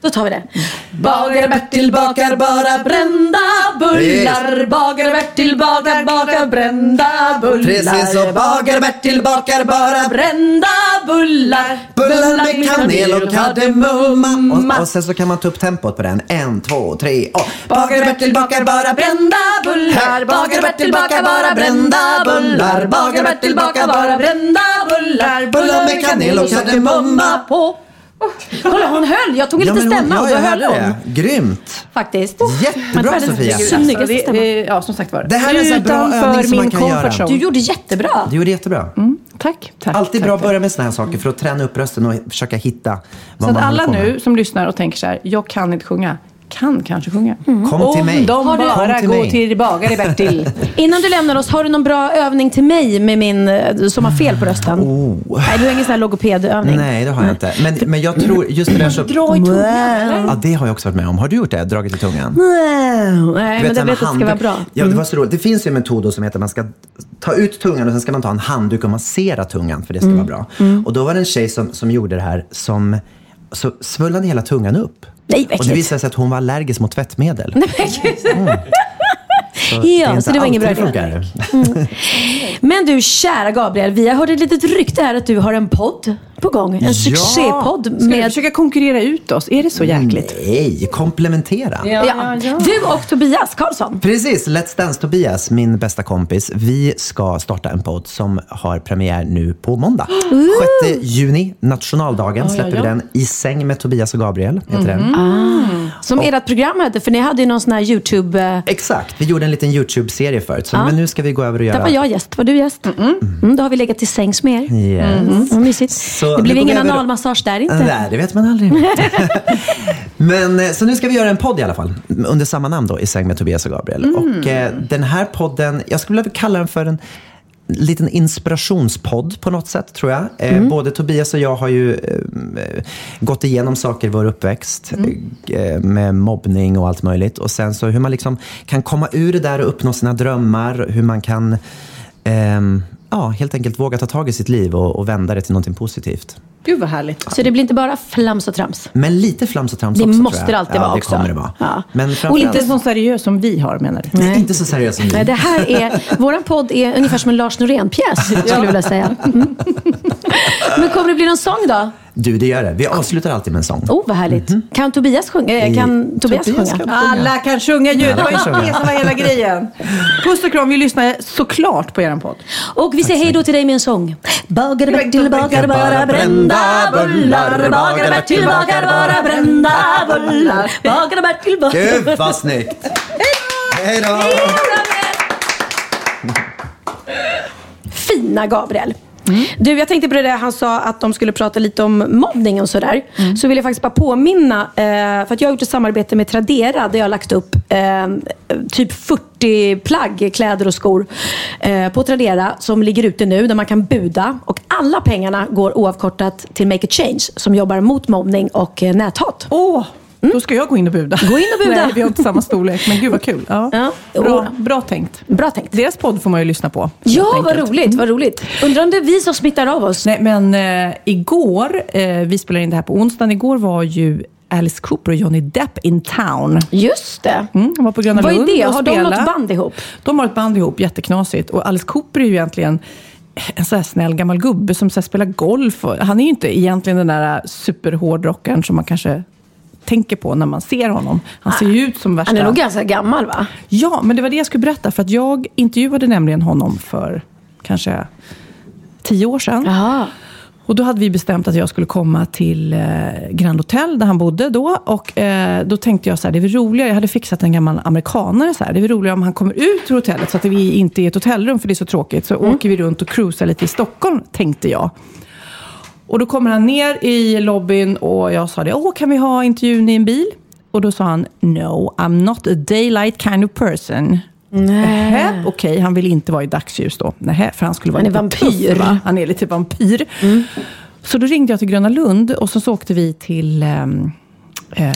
C: Då tar vi det. Bagare Bertil bakar bara brända bullar. Bagare Bertil bakar, bakar brända bullar.
E: Precis så Bagare Bertil bakar bara brända
C: Brända bullar.
E: Bullar med kanel och kardemumma och, och sen så kan man ta upp tempot på den En, två, tre och Bagare Bertil bakar bara brända
C: brända bullar. Bagare Bertil bakar bara brända bullar. Bagare Bertil bakar bara brända bullar.
E: Bullar med kanel och kardemumma
C: på. Kolla hon höll, jag tog en liten
E: men hon-
C: stämma och så
E: jag
C: höll
E: hörde
C: hon.
E: det. Grymt!
C: Faktiskt.
E: Jättebra Sofia!
C: Snyggaste
B: Alltså, det-
C: stämman.
B: det- ja, som sagt var.
E: Det här är en sån här bra
B: Utanför
E: övning som man
B: min
E: kan göra.
B: comfort
C: Du
B: zone.
C: gjorde jättebra.
E: Du gjorde jättebra.
B: Tack, tack.
E: Alltid
B: Mm. tack,
E: bra att
B: tack.
E: börja med såna här saker för att träna upp rösten och försöka hitta vad
B: Så att
E: man håller
B: alla
E: på med.
B: nu som lyssnar och tänker så här, jag kan inte sjunga, kan kanske sjunga.
C: Mm.
E: Kom till mig.
B: Om de
E: Har du-
B: bara
E: Kom till
B: går
E: mig.
B: till bagare Bertil.
C: Innan du lämnar oss, har du någon bra övning till mig med min, eh, som har fel på rösten?
E: Oh.
C: Nej, du har ingen sån här logopedövning?
E: Nej, det har jag inte. Men, men jag tror just det där så...
C: Dra i tungan.
E: Ja, det har jag också varit med om. Har du gjort det? Dragit i tungan?
C: Wow. Nej, men
E: Du
C: jag
E: vet,
C: vet att
E: såna
C: det ska vara
E: handduk-
C: bra. Mm.
E: Ja, det, var så roligt. det finns ju en metod då som heter att man ska ta ut tungan och sen ska man ta en handduk och massera tungan för det ska
C: Mm.
E: vara bra. Och då var det en tjej som, som gjorde det här som så svullnade hela tungan upp.
C: Nej, vad
E: och det
C: äckligt.
E: visade sig att hon var allergisk mot tvättmedel.
C: Nej, men gud.
E: är
C: Ja,
E: inte
C: så det var ingen bra
E: alltid
C: idé.
E: det funkar.
C: Men du kära Gabriel, vi har hört ett litet rykte här att du har en podd på gång. En succépodd
B: Ska du
C: med...
B: försöka konkurrera ut oss? Är det så
E: Mm.
B: jäkligt?
E: Nej, komplementera.
C: Ja. Du och Tobias Karlsson.
E: Precis, Let's Dance-Tobias, min bästa kompis. Vi ska starta en podd som har premiär nu på måndag. 6 juni, nationaldagen, släpper vi den. I säng med Tobias och Gabriel
C: Mhm.
E: heter den. Ah.
C: Som ert program hette, för ni hade ju någon sån här YouTube... eh,
E: Exakt, vi gjorde en liten YouTube-serie förut. Så, Men nu ska vi gå över och
C: Där
E: göra...
C: var jag gäst. Var du gäst? Mm, då har vi legat till sängs med er.
E: Yes.
C: Mm, vad mysigt.
E: Så
C: det blev
E: nu går
C: ingen
E: vi över-
C: analmassage där inte.
E: Nej, det vet man aldrig. Men, eh, så nu ska vi göra en podd i alla fall, under samma namn då, I säng med Tobias och Gabriel. Och eh, den här podden, jag skulle vilja kalla den för en liten inspirationspodd på något sätt, tror jag. Eh, Både Tobias och jag har ju eh, gått igenom saker i vår uppväxt eh, med mobbning och allt möjligt. Och sen så hur man liksom kan komma ur det där och uppnå sina drömmar, hur man kan ehm, ja, helt enkelt våga ta tag i sitt liv och, och vända det till någonting positivt.
B: Gud vad härligt.
C: Så det blir inte bara flams och trams.
E: Men lite flams och trams
C: Det
E: också,
C: måste
E: tror jag.
C: det alltid
E: ja,
C: vara
E: det
C: också.
E: kommer det vara.
C: Ja.
E: Men
B: Och
E: framförallt,
B: inte så seriös som vi har menar du?
E: Nej, inte så seriös som
C: Nej,
E: ni.
C: det här är, våran podd är ungefär som en Lars Norén-pjäs, skulle jag vilja säga. Mm. Men kommer det bli någon sång då?
E: Du, det gör det. Vi avslutar alltid med en sång.
C: Oh, vad härligt. Kan Tobias sjunga? Eh, Kan Tobias,
E: Tobias
C: sjunga?
E: kan-
B: Alla kan sjunga ju. Det var ju det som var hela grejen. Puss och kram. Vi lyssnar såklart på er podd.
C: Och vi säger hej då till dig med en sång. Bagade Bertil bakade bara brända bullar. Bagade Bertil bakade bara brända bullar. Bagade Bertil bakade
E: Gud vad snyggt! Hej då!
C: Fina Gabriel. Du, jag tänkte på det där han sa att de skulle prata lite om mobbning och sådär. Så vill jag faktiskt bara påminna, eh, för att jag har gjort ett samarbete med Tradera där jag har lagt upp eh, typ 40 plagg, kläder och skor eh, på Tradera som ligger ute nu där man kan buda. Och alla pengarna går oavkortat till Make a Change som jobbar mot mobbning och eh, näthat.
B: Åh, då ska jag gå in och buda.
C: Mm. Gå in och buda.
B: Nej, vi har inte samma storlek, men gud vad kul. Ja.
C: Ja.
B: Bra, bra tänkt.
C: Bra tänkt. Mm.
B: Deras podd får man ju lyssna på. helt
C: Ja, vad
B: enkelt.
C: roligt, vad roligt. Undrar om det är vi som smittar av oss.
B: Nej, men eh, igår, eh, vi spelade in det här på onsdagen, igår var ju Alice Cooper och Johnny Depp in town.
C: Just det.
B: Mm, de var på Gröna
C: Vad är
B: Lund
C: det?
B: och
C: Har de
B: spelade.
C: något band ihop?
B: De har ett band ihop, jätteknasigt. Och Alice Cooper är ju egentligen en så här snäll gammal gubbe som så här spelar golf. Och Han är ju inte egentligen den där superhårdrockaren som man kanske tänker på när man ser honom. Han ser ju ut som värsta...
C: Ah, Han är nog ganska gammal va?
B: Ja, men det var det jag skulle berätta. För att jag intervjuade nämligen honom för kanske tio år sedan.
C: Jaha.
B: Och då hade vi bestämt att jag skulle komma till eh, Grand Hotel där han bodde då. Och eh, då tänkte jag så här, det är väl roligare, jag hade fixat en gammal amerikanare så här, det är väl roligare om han kommer ut ur hotellet så att vi inte är i ett hotellrum för det är så tråkigt. Så
C: Mm.
B: åker vi runt och cruisar lite i Stockholm, tänkte jag. Och då kommer han ner i lobbyn och jag sa det, åh kan vi ha intervjun i en bil? Och då sa han, no I'm not a daylight kind of person. Nähä, okej, han vill inte vara i dagsljus då. Nähä, för han skulle vara
C: Han är
B: lite
C: vampyr. Mm.
B: Tuff, va? Han är lite vampyr. Så då ringde jag till Gröna Lund och så, så åkte vi till ehm,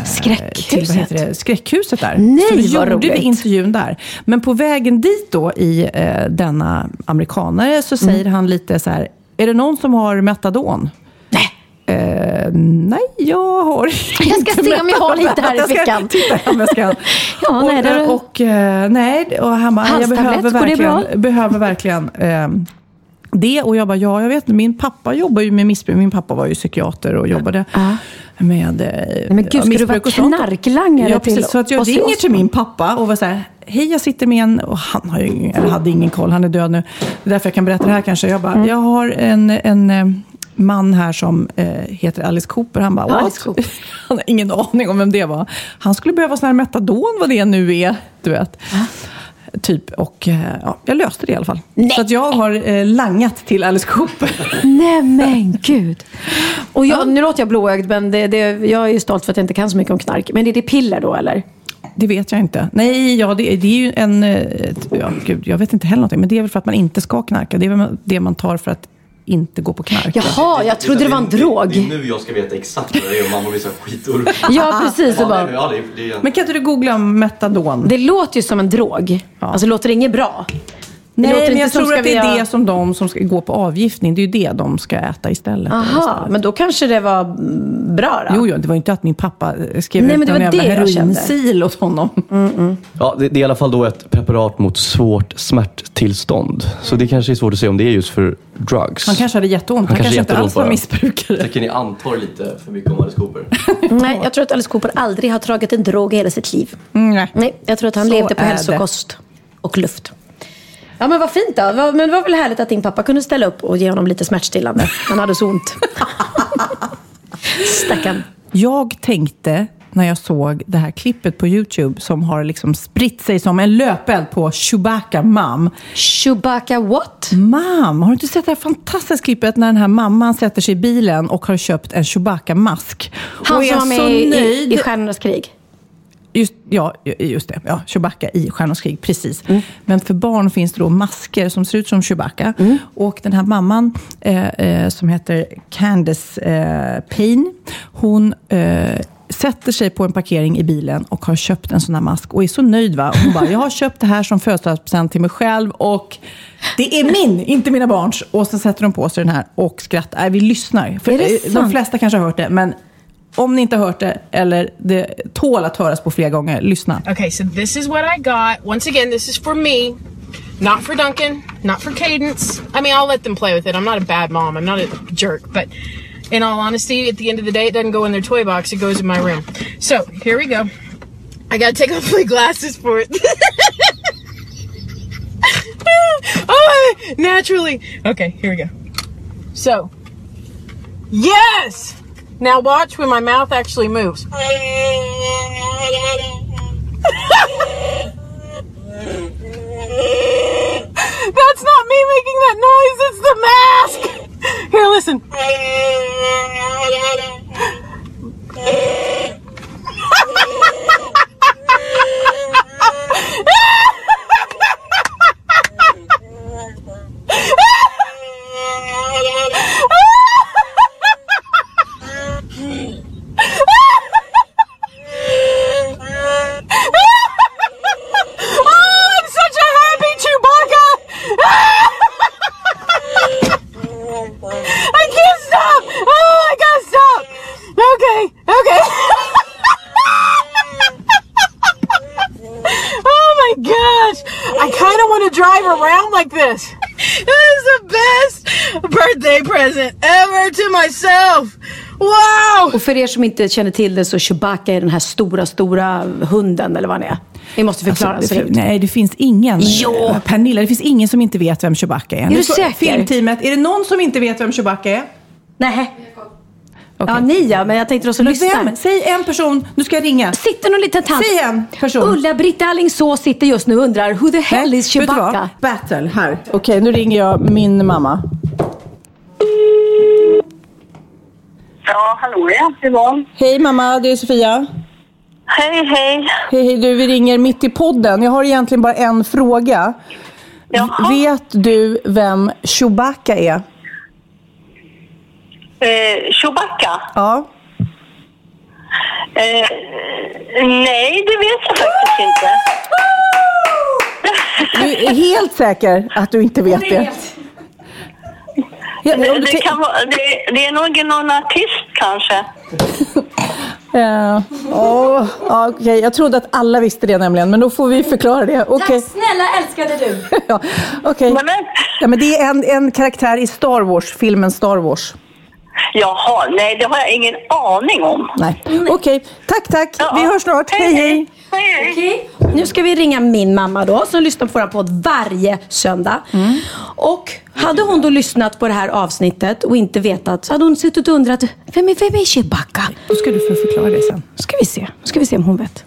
C: Skräckhuset.
B: till vad heter det, skräckhuset där.
C: Nej,
B: så då
C: vad
B: gjorde vi
C: roligt.
B: intervjun där. Men på vägen dit då i eh, denna amerikanare så
C: Mm.
B: säger han lite så här, är det någon som har metadon? Eh, nej, jag har
C: ska
B: inte
C: se om jag har
B: metadon.
C: lite här i
B: Jag ska
C: fickan.
B: Titta om jag ska.
C: Ja,
B: och,
C: nej, där
B: eh,
C: du-
B: och, eh, nej, och han bara, jag
C: Halstablett,
B: behöver
C: går det bra?
B: verkligen, behöver verkligen ehm, det och jag bara, ja jag vet inte, min pappa jobbar ju med missbruk. Min pappa var ju psykiater och jobbade med eh,
C: men gud, ska du
B: missbruk
C: vara
B: och sånt.
C: knarklangare
B: ja,
C: till
B: precis, så att jag
C: Ozzy
B: ringer till
C: Osbourne?
B: min pappa och var så här, hej jag sitter med en, och han har ju, ingen- eller hade ingen koll, han är död nu. Det är därför jag kan berätta det här kanske. Jag
C: Mm.
B: bara, jag har en, en eh, man här som eh, heter Alice Cooper. Han bara,
C: Alice
B: "What?"
C: Cooper.
B: Han har ingen aning om vem det var. Han skulle behöva sån här metadon, vad det nu är. Du vet. Typ, och eh, ja, jag löste det i alla fall. Så att jag har eh, langat till Alice Cooper.
C: Nej men gud. Och jag, Nu låter jag blåögd, men det, det, jag är ju stolt för att jag inte kan så mycket om knark. Men är det piller då eller?
B: Det vet jag inte. Nej, ja, det, det är ju en... eh, ett- Ja, gud, jag vet inte heller någonting. Men det är väl för att man inte ska knarka. Det är väl ma- det man tar för att inte gå på knark.
C: Jaha, jag trodde det var en
D: Det är
C: drog.
D: nu jag ska veta exakt vad det är och mamma blir så här skitorg.
C: Ja, precis. Och
D: Ja, nej,
C: bara,
D: men ja, det är- det är-
B: Men kan inte du googla metadon?
C: det låter ju som en drog. Alltså låter det inget bra? Det
B: Nej,
C: låter
B: men
C: inte
B: jag
C: som
B: tror
C: ska
B: att det
C: vi
B: är
C: ha-
B: det som de som ska gå på avgiftning, det är ju det de ska äta istället.
C: Aha, men då kanske det var mm, bra då?
B: Jo, jo, det var ju inte att min pappa eh, skrev
C: Nej,
B: ut
C: men det
B: någon
C: var
B: jävla
C: det jag kände. Mm.
B: heroinsil åt honom.
D: Ja, det, det är i alla fall då ett preparat mot svårt smärttillstånd. Så det kanske är svårt att se om det är just för drugs.
B: Han kanske hade jätteont. Han
D: kanske
B: kanske inte
D: jätteont
B: alls var
D: bara.
B: missbrukare.
D: kan ni antar lite för mycket om Alice Cooper.
C: Nej, jag tror att Alice Cooper aldrig har tagit en drog i hela sitt liv. Nej, jag tror att han
B: Så
C: levde på
B: är det.
C: hälsokost och luft. Ja, men vad fint då. Vad- Men det var väl härligt att din pappa kunde ställa upp och ge honom lite smärtstillande. Han hade så ont. Stackarn.
B: Jag tänkte när jag såg det här klippet på Youtube som har liksom spritt sig som en löpeld på Chewbacca Mom.
C: Chewbacca what?
B: Mam, har du inte sett det här fantastiska klippet när den här mamman sätter sig i bilen och har köpt en Chewbacca-mask?
C: Han
B: och
C: som var
B: så
C: med i,
B: nöjd.
C: i, i Stjärnornas krig.
B: Just, ja, ju- just det. Ja, Chewbacca i Stjärnornas krig, precis.
C: Mm.
B: Men för barn finns det då masker som ser ut som Chewbacca.
C: Mm.
B: Och den här mamman eh, eh, som heter Candace eh, Payne, hon eh, sätter sig på en parkering i bilen och har köpt en sån här mask och är så nöjd. Va? Hon bara, jag har köpt det här som födelsedagspresent till mig själv och det är min, inte mina barns. Och så sätter de på sig den här och skrattar. Nej, vi lyssnar. För
C: Är det
B: eh, de
C: sant?
B: flesta kanske har hört det, men om ni inte har hört det, eller det tål att höras på flera gånger, lyssna.
F: Okay, so this is what I got. Once again, this is for me. Not for Duncan, not for Cadence. I mean, I'll let them play with it. I'm not a bad mom. I'm not a jerk. But in all honesty, at the end of the day, it doesn't go in their toy box. It goes in my room. So here we go. I gotta take off my glasses for it. oh, naturally. Okay, here we go. So, yes. Now watch when my mouth actually moves. That's not me making that noise, it's the mask! Here, listen. Oh, I'm such a happy Chewbacca! I can't stop! Oh, I gotta stop! Okay, okay. oh my gosh! I kind of want to drive around like this. That is the best birthday present ever to myself! Wow!
C: Och för er som inte känner till det så Chewbacca är den här stora, stora hunden eller vad han är. Vi måste förklara
B: Alltså,
C: hur
B: det
C: han
B: fin-
C: ser ut.
B: nej, det finns ingen. eh,
C: Jo.
B: Pernilla, det finns ingen som inte vet vem Chewbacca är. Är
C: du säker?
B: Filmteamet, är det någon som inte vet vem Chewbacca är?
C: Nej.
B: Okej.
C: Ja, ni ja, men jag tänkte de som lyssnar.
B: Vem? Säg en person. Nu ska jag ringa.
C: Sitter någon liten tant?
B: Säg en person.
C: Ulla-Britt Alingsås sitter just nu och undrar, who the hell
B: Nej,
C: is
B: vet du vad?
C: Chewbacca?
B: Battle, här. Okej, nu ringer jag min mamma.
G: Ja, hallå ja, Yvonne.
B: Hej mamma, det är Sofia.
G: Hej, hej.
B: Hej, hej du, vi ringer mitt i podden. Jag har egentligen bara en fråga.
G: Jaha.
B: Vet du vem Chewbacca är?
G: Eh, Chewbacca?
B: Ja.
G: Eh, nej, det vet jag faktiskt inte.
B: Du är helt säker att du inte vet det? Ja,
G: Det,
B: om du
G: det,
B: tänk-
G: kan vara, det, det är nog någon artist kanske.
B: Eh, åh, ja, okej. Jag trodde att alla visste det nämligen, men då får vi förklara det. Okej.
C: snälla älskade du.
B: Ja, okej.
G: Nej, men,
B: Ja, men det är en, en karaktär i Star Wars, filmen Star Wars.
G: jaha, nej, det har jag ingen aning om.
B: Nej. Okej, tack tack.
G: Ja.
B: Vi hörs snart. Hej hej.
G: hej. hej.
C: Nu ska vi ringa min mamma då, som lyssnar på vår podd varje söndag.
G: Mm.
C: Och hade hon då lyssnat på det här avsnittet och inte vetat, så hade hon suttit och undrat, vem är, vem är Chewbacca?
B: Då ska du få förklara det sen.
C: Ska vi se, ska vi se om hon vet.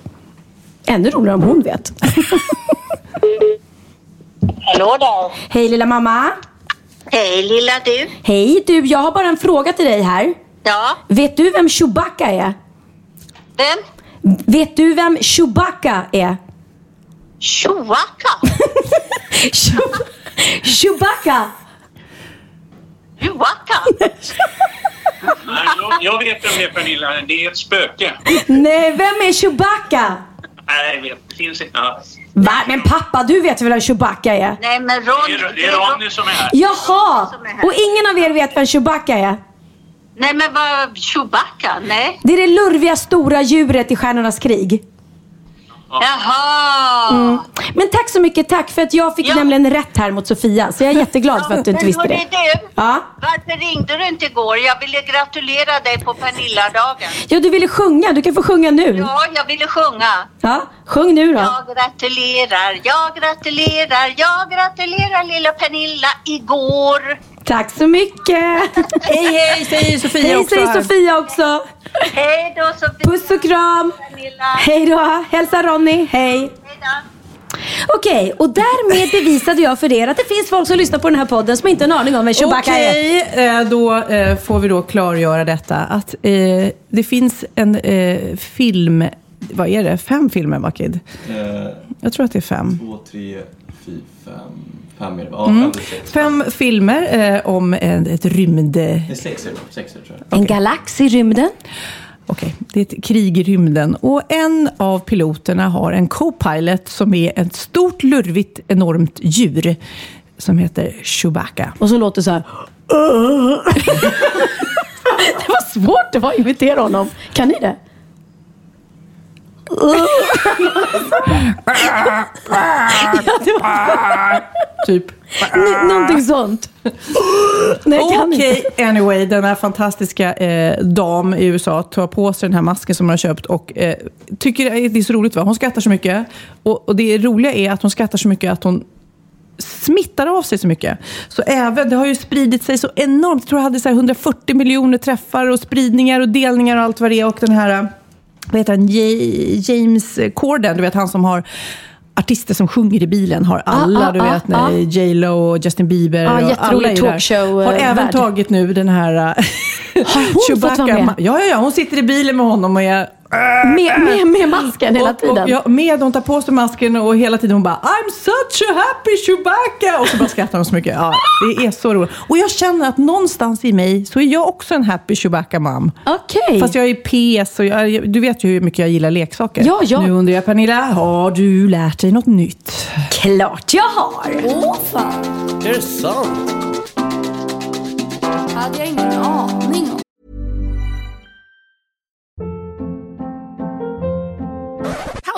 C: Ännu roligare om hon vet.
G: Hallå där.
C: Hej lilla mamma.
G: Hej, lilla du.
C: Hej du, jag har bara en fråga till dig här.
G: Ja,
C: Vet du vem Chewbacca är?
G: vem?
C: Vet du vem Chewbacca är?
G: Chewbacca?
C: Chew- Chewbacca!
G: Chewbacca?
H: Jag, jag vet vem det är Pernilla, det är ett spöke.
C: Nej, vem är Chewbacca?
H: Nej, jag vet. Det finns inte. Ja.
C: Va? Men pappa, du vet väl vem Chewbacca är?
G: Nej, men
H: Det
G: Ronny.
H: är, det är Ronny som är här.
C: Jaha! Och ingen av er vet vem Chewbacca är?
G: Nej, men vad... Chewbacca? Nej.
C: Det är det lurviga stora djuret i Stjärnornas krig. Mm.
G: Jaha.
C: Men tack så mycket, tack för att jag fick
G: Ja.
C: nämligen rätt här mot Sofia. Så jag är jätteglad för att du inte
G: Men
C: visste
G: hörru
C: det.
G: du,
C: Ja.
G: varför ringde du inte igår? Jag ville gratulera dig på Pernilla-dagen.
C: Ja, du ville sjunga. Du kan få sjunga nu.
G: Ja, jag ville sjunga.
C: Ja, sjung nu då.
G: Jag gratulerar, jag gratulerar, jag gratulerar lilla Pernilla igår.
C: Tack så mycket.
B: Hej hej säger Sofia
C: Hej,
B: också.
C: säger
B: här.
C: Sofia också.
G: Hej då Sofia.
C: Puss och kram.
G: Pernilla.
C: Hej då. Hälsa Ronny. Hej.
G: Hej då.
C: Okej, och därmed bevisade jag för er att det finns folk som lyssnar på den här podden som inte har en aning om vem Chewbacca är.
B: Okej, eh, då eh, får vi då klargöra detta. Att eh, det finns en eh, film, vad är det? Fem filmer va Kid? Jag tror att det är fem.
D: Två, tre, fyra, fem. Mm. Fem är det va?
B: Fem filmer eh, om en, ett rymd... Okej,
D: är sex är det Sex är det tror jag.
C: En galax i rymden.
B: det är ett krig i rymden. Och en av piloterna har en co-pilot som är ett stort, lurvigt, enormt djur som heter Chewbacca.
C: Och så låter det så här. det var svårt det var att imitera honom. Kan ni det? ja, det var...
F: typ.
G: N- någonting sånt. Nej, jag kan inte.
F: Okej, anyway, denna fantastiska eh, dam i USA tar på sig den här masken som hon har köpt och eh, tycker det är så roligt. Va? Hon skrattar så mycket. Och, och det roliga är att hon skrattar så mycket att hon smittar av sig så mycket. Så även, det har ju spridit sig så enormt. Jag tror jag hade så här 140 miljoner träffar och spridningar och delningar och allt vad det är. Och den här, eh, vad heter han, J- James Corden, du vet han som har artister som sjunger i bilen, har alla,
G: ah,
F: du vet,
G: ah, ah.
F: J Lo och Justin Bieber.
G: Ja,
F: och
G: jätterolig
F: alla är ju där.
G: talkshow,
F: Har
G: eh,
F: även
G: värld.
F: tagit nu den här... Har
G: hon fått vara med?
F: Ja, ja, ja, hon sitter i bilen med honom och är...
G: Med, med, med masken hela
F: Och, och,
G: tiden.
F: ja, med, hon tar på sig masken och hela tiden hon bara I'm such a happy Chewbacca! Och så bara skrattar hon så mycket. Ja, det är så roligt. Och jag känner att någonstans i mig så är jag också en happy Chewbacca-mam.
G: Okej.
F: Fast jag är PS och jag, du vet ju hur mycket jag gillar leksaker.
G: Ja, ja.
F: Nu undrar jag Pernilla, har du lärt dig något nytt?
G: Klart jag har! Åh fan!
D: Är det sant?
G: hade jag ingen aning om.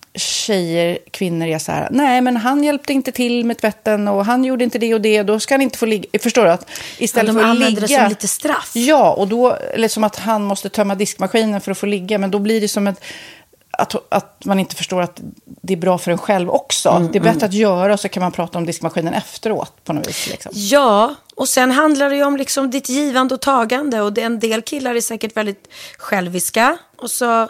B: tjejer, kvinnor är så här, nej men han hjälpte inte till med tvätten och han gjorde inte det och det, då ska han inte få ligga. Förstår du? Att istället
C: de
B: för att
C: använder
B: ligga...
C: det som lite straff.
B: Ja, och då, eller som att han måste tömma diskmaskinen för att få ligga, men då blir det som ett att, att man inte förstår att det är bra för en själv också.
C: Mm,
B: det är bättre
C: mm.
B: att göra och så kan man prata om diskmaskinen efteråt på något vis. Liksom.
C: Ja, och sen handlar det ju om liksom ditt givande och tagande. Och det, en del killar är säkert väldigt själviska. Och så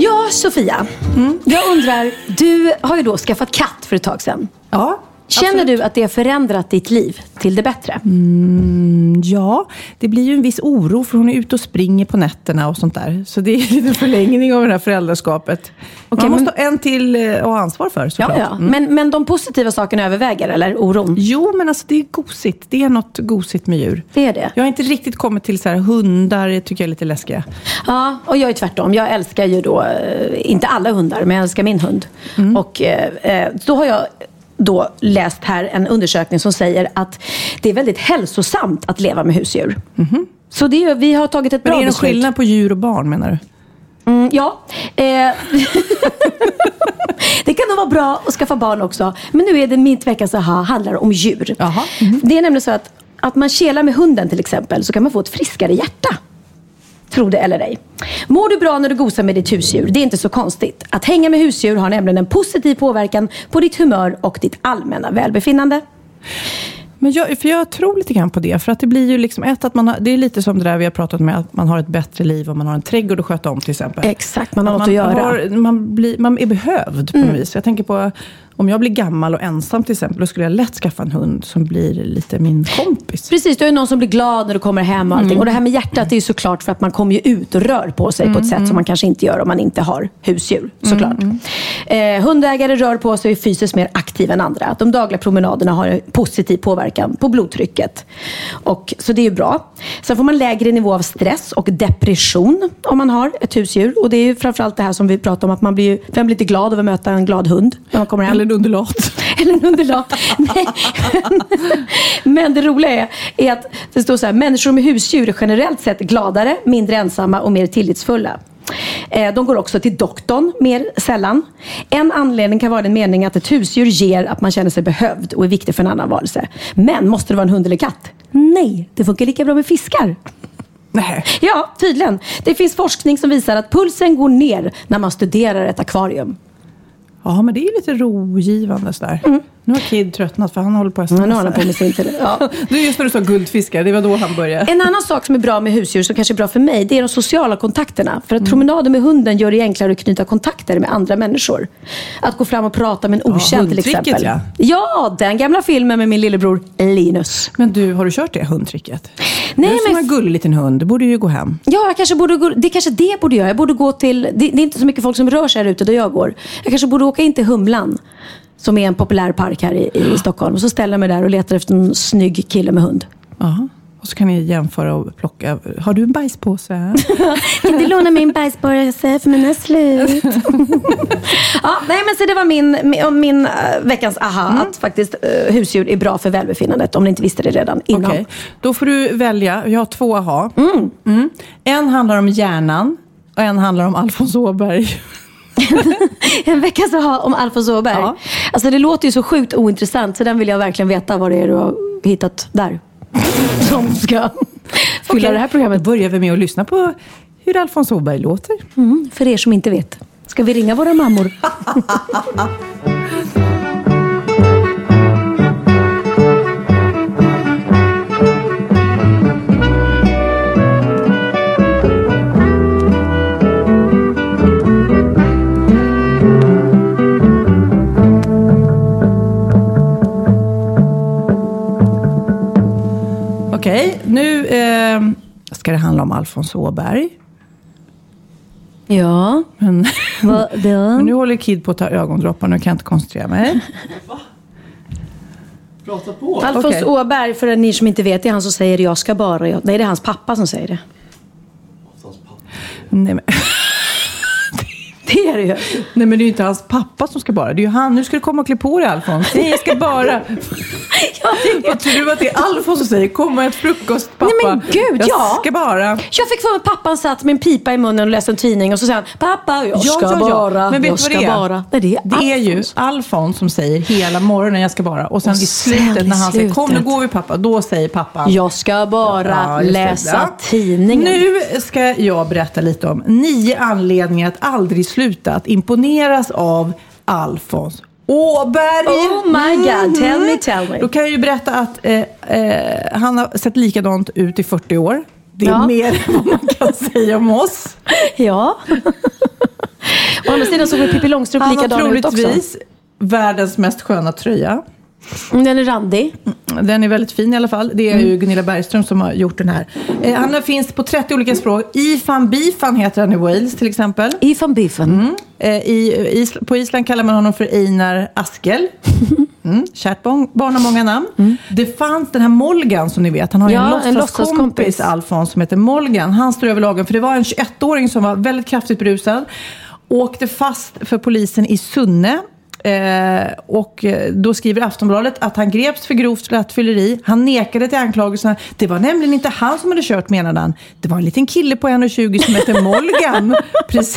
C: Ja, Sofia.
B: Mm.
C: Jag undrar, du har ju då skaffat katt för ett tag sedan.
B: Ja.
C: Känner du att det har förändrat ditt liv till det bättre?
B: Mm, ja, det blir ju en viss oro för hon är ute och springer på nätterna och sånt där. Så det är en liten förlängning av det här föräldraskapet.
C: Okej,
B: Man måste
C: men-
B: ha en till eh, att ha ansvar för såklart.
C: Ja, ja. Men, men de positiva sakerna överväger, eller? Oron?
B: Jo, men alltså det är gosigt. Det är något gosigt med djur.
C: Det är det.
B: Jag har inte riktigt kommit till så här, hundar det tycker jag är lite läskiga.
C: Ja, och jag är tvärtom. Jag älskar ju då, eh, inte alla hundar, men jag älskar min hund.
B: Mm.
C: Och eh, eh, då har jag då läst här en undersökning som säger att det är väldigt hälsosamt att leva med husdjur. Så det är, vi har tagit ett
B: Mhm.
C: bra
B: Men är det någon
C: beslut.
B: skillnad på djur och barn menar du?
C: Mm, ja. Eh, det kan nog vara bra att skaffa barn också. Men nu är det mitt veckas aha handlar om djur. Det är nämligen så att, att man kelar med hunden till exempel så kan man få ett friskare hjärta. Tro det eller ej. Mår du bra när du gosar med ditt husdjur? Det är inte så konstigt. Att hänga med husdjur har nämligen en positiv påverkan på ditt humör och ditt allmänna välbefinnande.
B: Men jag, för jag tror lite grann på det. För att det blir ju liksom ett, att man har, det är lite som det där vi har pratat om, att man har ett bättre liv om man har en trädgård att sköta om till exempel.
C: Exakt, man har
B: Att
C: något att göra.
B: Har, man, blir, man är behövd på något vis. Jag tänker på, om jag blir gammal och ensam till exempel, då skulle jag lätt skaffa en hund som blir lite min kompis.
C: Precis, du är någon som blir glad när du kommer hem och allting.
B: Mm.
C: Och det här med hjärtat det är ju såklart för att man kommer ju ut och rör på sig på ett sätt som man kanske inte gör om man inte har husdjur. Såklart. Eh, hundägare rör på sig och är fysiskt mer aktiva än andra. De dagliga promenaderna har en positiv påverkan på blodtrycket. Och, så det är ju bra. Sen får man lägre nivå av stress och depression om man har ett husdjur. Och det är ju framförallt det här som vi pratar om, att man blir, ju- vem blir inte glad av att möta en glad hund när man kommer hem? Eller
B: en underlat.
C: Eller en underlat. Nej. Men det roliga är, är att det står så här, människor med husdjur är generellt sett gladare, mindre ensamma och mer tillitsfulla. Eh, De går också till doktorn mer sällan. En anledning kan vara den meningen att ett husdjur ger att man känner sig behövd och är viktig för en annan varelse. Men måste det vara en hund eller katt? Nej, det funkar lika bra med fiskar.
B: Nej.
C: Ja, tydligen. Det finns forskning som visar att pulsen går ner när man studerar ett akvarium.
B: Ja, men det är ju lite rogivande sådär. Nu har Kid tröttnat för han håller på att stressa.
C: Mm. nu håller han på med sin tele- ja.
B: Det är just när du sa guldfiskar, det var då han började.
C: En annan sak som är bra med husdjur, som kanske är bra för mig, det är de sociala kontakterna.
B: Mm.
C: För att promenader med hunden gör det enklare att knyta kontakter med andra människor. Att gå fram och prata med en okänd till
B: hundtricket,
C: exempel.
B: ja.
C: ja, den gamla filmen med min lillebror Linus.
B: Men du, har du kört det hundtricket?
C: Nej,
B: du som men... en gullig liten hund, du borde ju gå hem.
C: Ja, jag kanske borde gå, det är kanske det jag borde göra. Jag borde gå till, det, det är inte så mycket folk som rör sig här ute där jag går. Jag kanske borde åka in till Humlan, som är en populär park här i, i Stockholm. Och så ställer jag mig där och letar efter en snygg kille med hund.
B: Ja, och så kan ni jämföra och plocka. Har du en bajspåse?
C: Kan du låna min bajspåse för mina är slut? ja, nej, men så det var min, mi- min eh, veckans aha. Att faktiskt eh, husdjur är bra för välbefinnandet. Om ni inte visste det redan innan.
B: Okej, då får du välja. Jag har två aha. Mm. En handlar om hjärnan och en handlar om Alfons Åberg.
C: En veckas aha om Alfons Åberg. Alltså det låter ju så sjukt ointressant. Så den vill jag verkligen veta vad det är du har hittat där. Som ska fylla
B: Okej,
C: det här programmet.
B: Då börjar vi med att lyssna på hur Alfons Åberg låter.
C: Mm, för er som inte vet. Ska vi ringa våra mammor?
B: Okej, nu eh, ska det handla om Alfons Åberg.
C: Ja.
B: Men,
C: Va,
B: men nu håller Kid på att ta ögondroppar, nu kan jag inte koncentrera mig.
D: Prata på.
C: Alfons Åberg, för ni som inte vet, det är han som säger jag ska bara. Jag... Nej, det är hans pappa som säger det.
B: Nej, men...
C: Det är det ju.
B: Nej, men det är ju inte hans pappa som ska bara. Det är ju han. Nu ska du komma och klä på dig, Alfons. Nej, jag ska bara. Vad tror du att det är Alfons som säger? Komma ett frukost, pappa.
C: Nej men gud,
B: jag
C: ja.
B: Ska bara.
C: Jag fick för mig att pappan satt med en pipa i munnen och läste en tidning och så sa han, pappa, jag ska bara,
B: Men vet
C: jag
B: du
C: ska
B: vad det är?
C: bara. Nej, det är,
B: det är ju Alfons som säger hela morgonen jag ska bara. Och sen i slutet
C: sen i
B: när han säger kom nu
C: slutet.
B: går vi pappa. Då säger pappa.
C: Jag ska bara
B: just det.
C: läsa
B: Ja.
C: tidningen.
B: Nu ska jag berätta lite om nio anledningar att aldrig sluta att imponeras av Alfons Åberg.
C: Oh my god, tell me,
B: Mhm.
C: tell me.
B: Då kan jag ju berätta att eh, eh, han har sett likadant ut i 40 år. Det är
C: Ja.
B: mer än vad man kan säga om oss.
C: Ja. Å andra sidan såg väl Pippi Långstrump
B: Han har
C: likadan ut också?
B: troligtvis världens mest sköna tröja.
C: Den är randig.
B: Den är väldigt fin i alla fall. Det är
C: Mm.
B: ju Gunilla Bergström som har gjort den här. Eh, han finns på 30 olika språk. Ifan Bifan heter han i Wales till exempel.
C: Ifan Bifan.
B: Mm. Eh, i, is, på Island kallar man honom för Einar Askel. Mm. Kärt barn, barn har många namn. Det fanns den här Molgan som ni vet. Han har ju
C: Ja, en
B: en låtsaskompis,
C: låtsaskompis.
B: Alfons, som heter Molgan. Han står över lagen för det var en 21-åring som var väldigt kraftigt berusad. Åkte fast för polisen i Sunne. Eh, och eh, då skriver Aftonbladet att han greps för grovt rattfylleri. Han nekade till anklagelserna. Det var nämligen inte han som hade kört menade han. Det var en liten kille på 1,20 som hette Molgan. Precis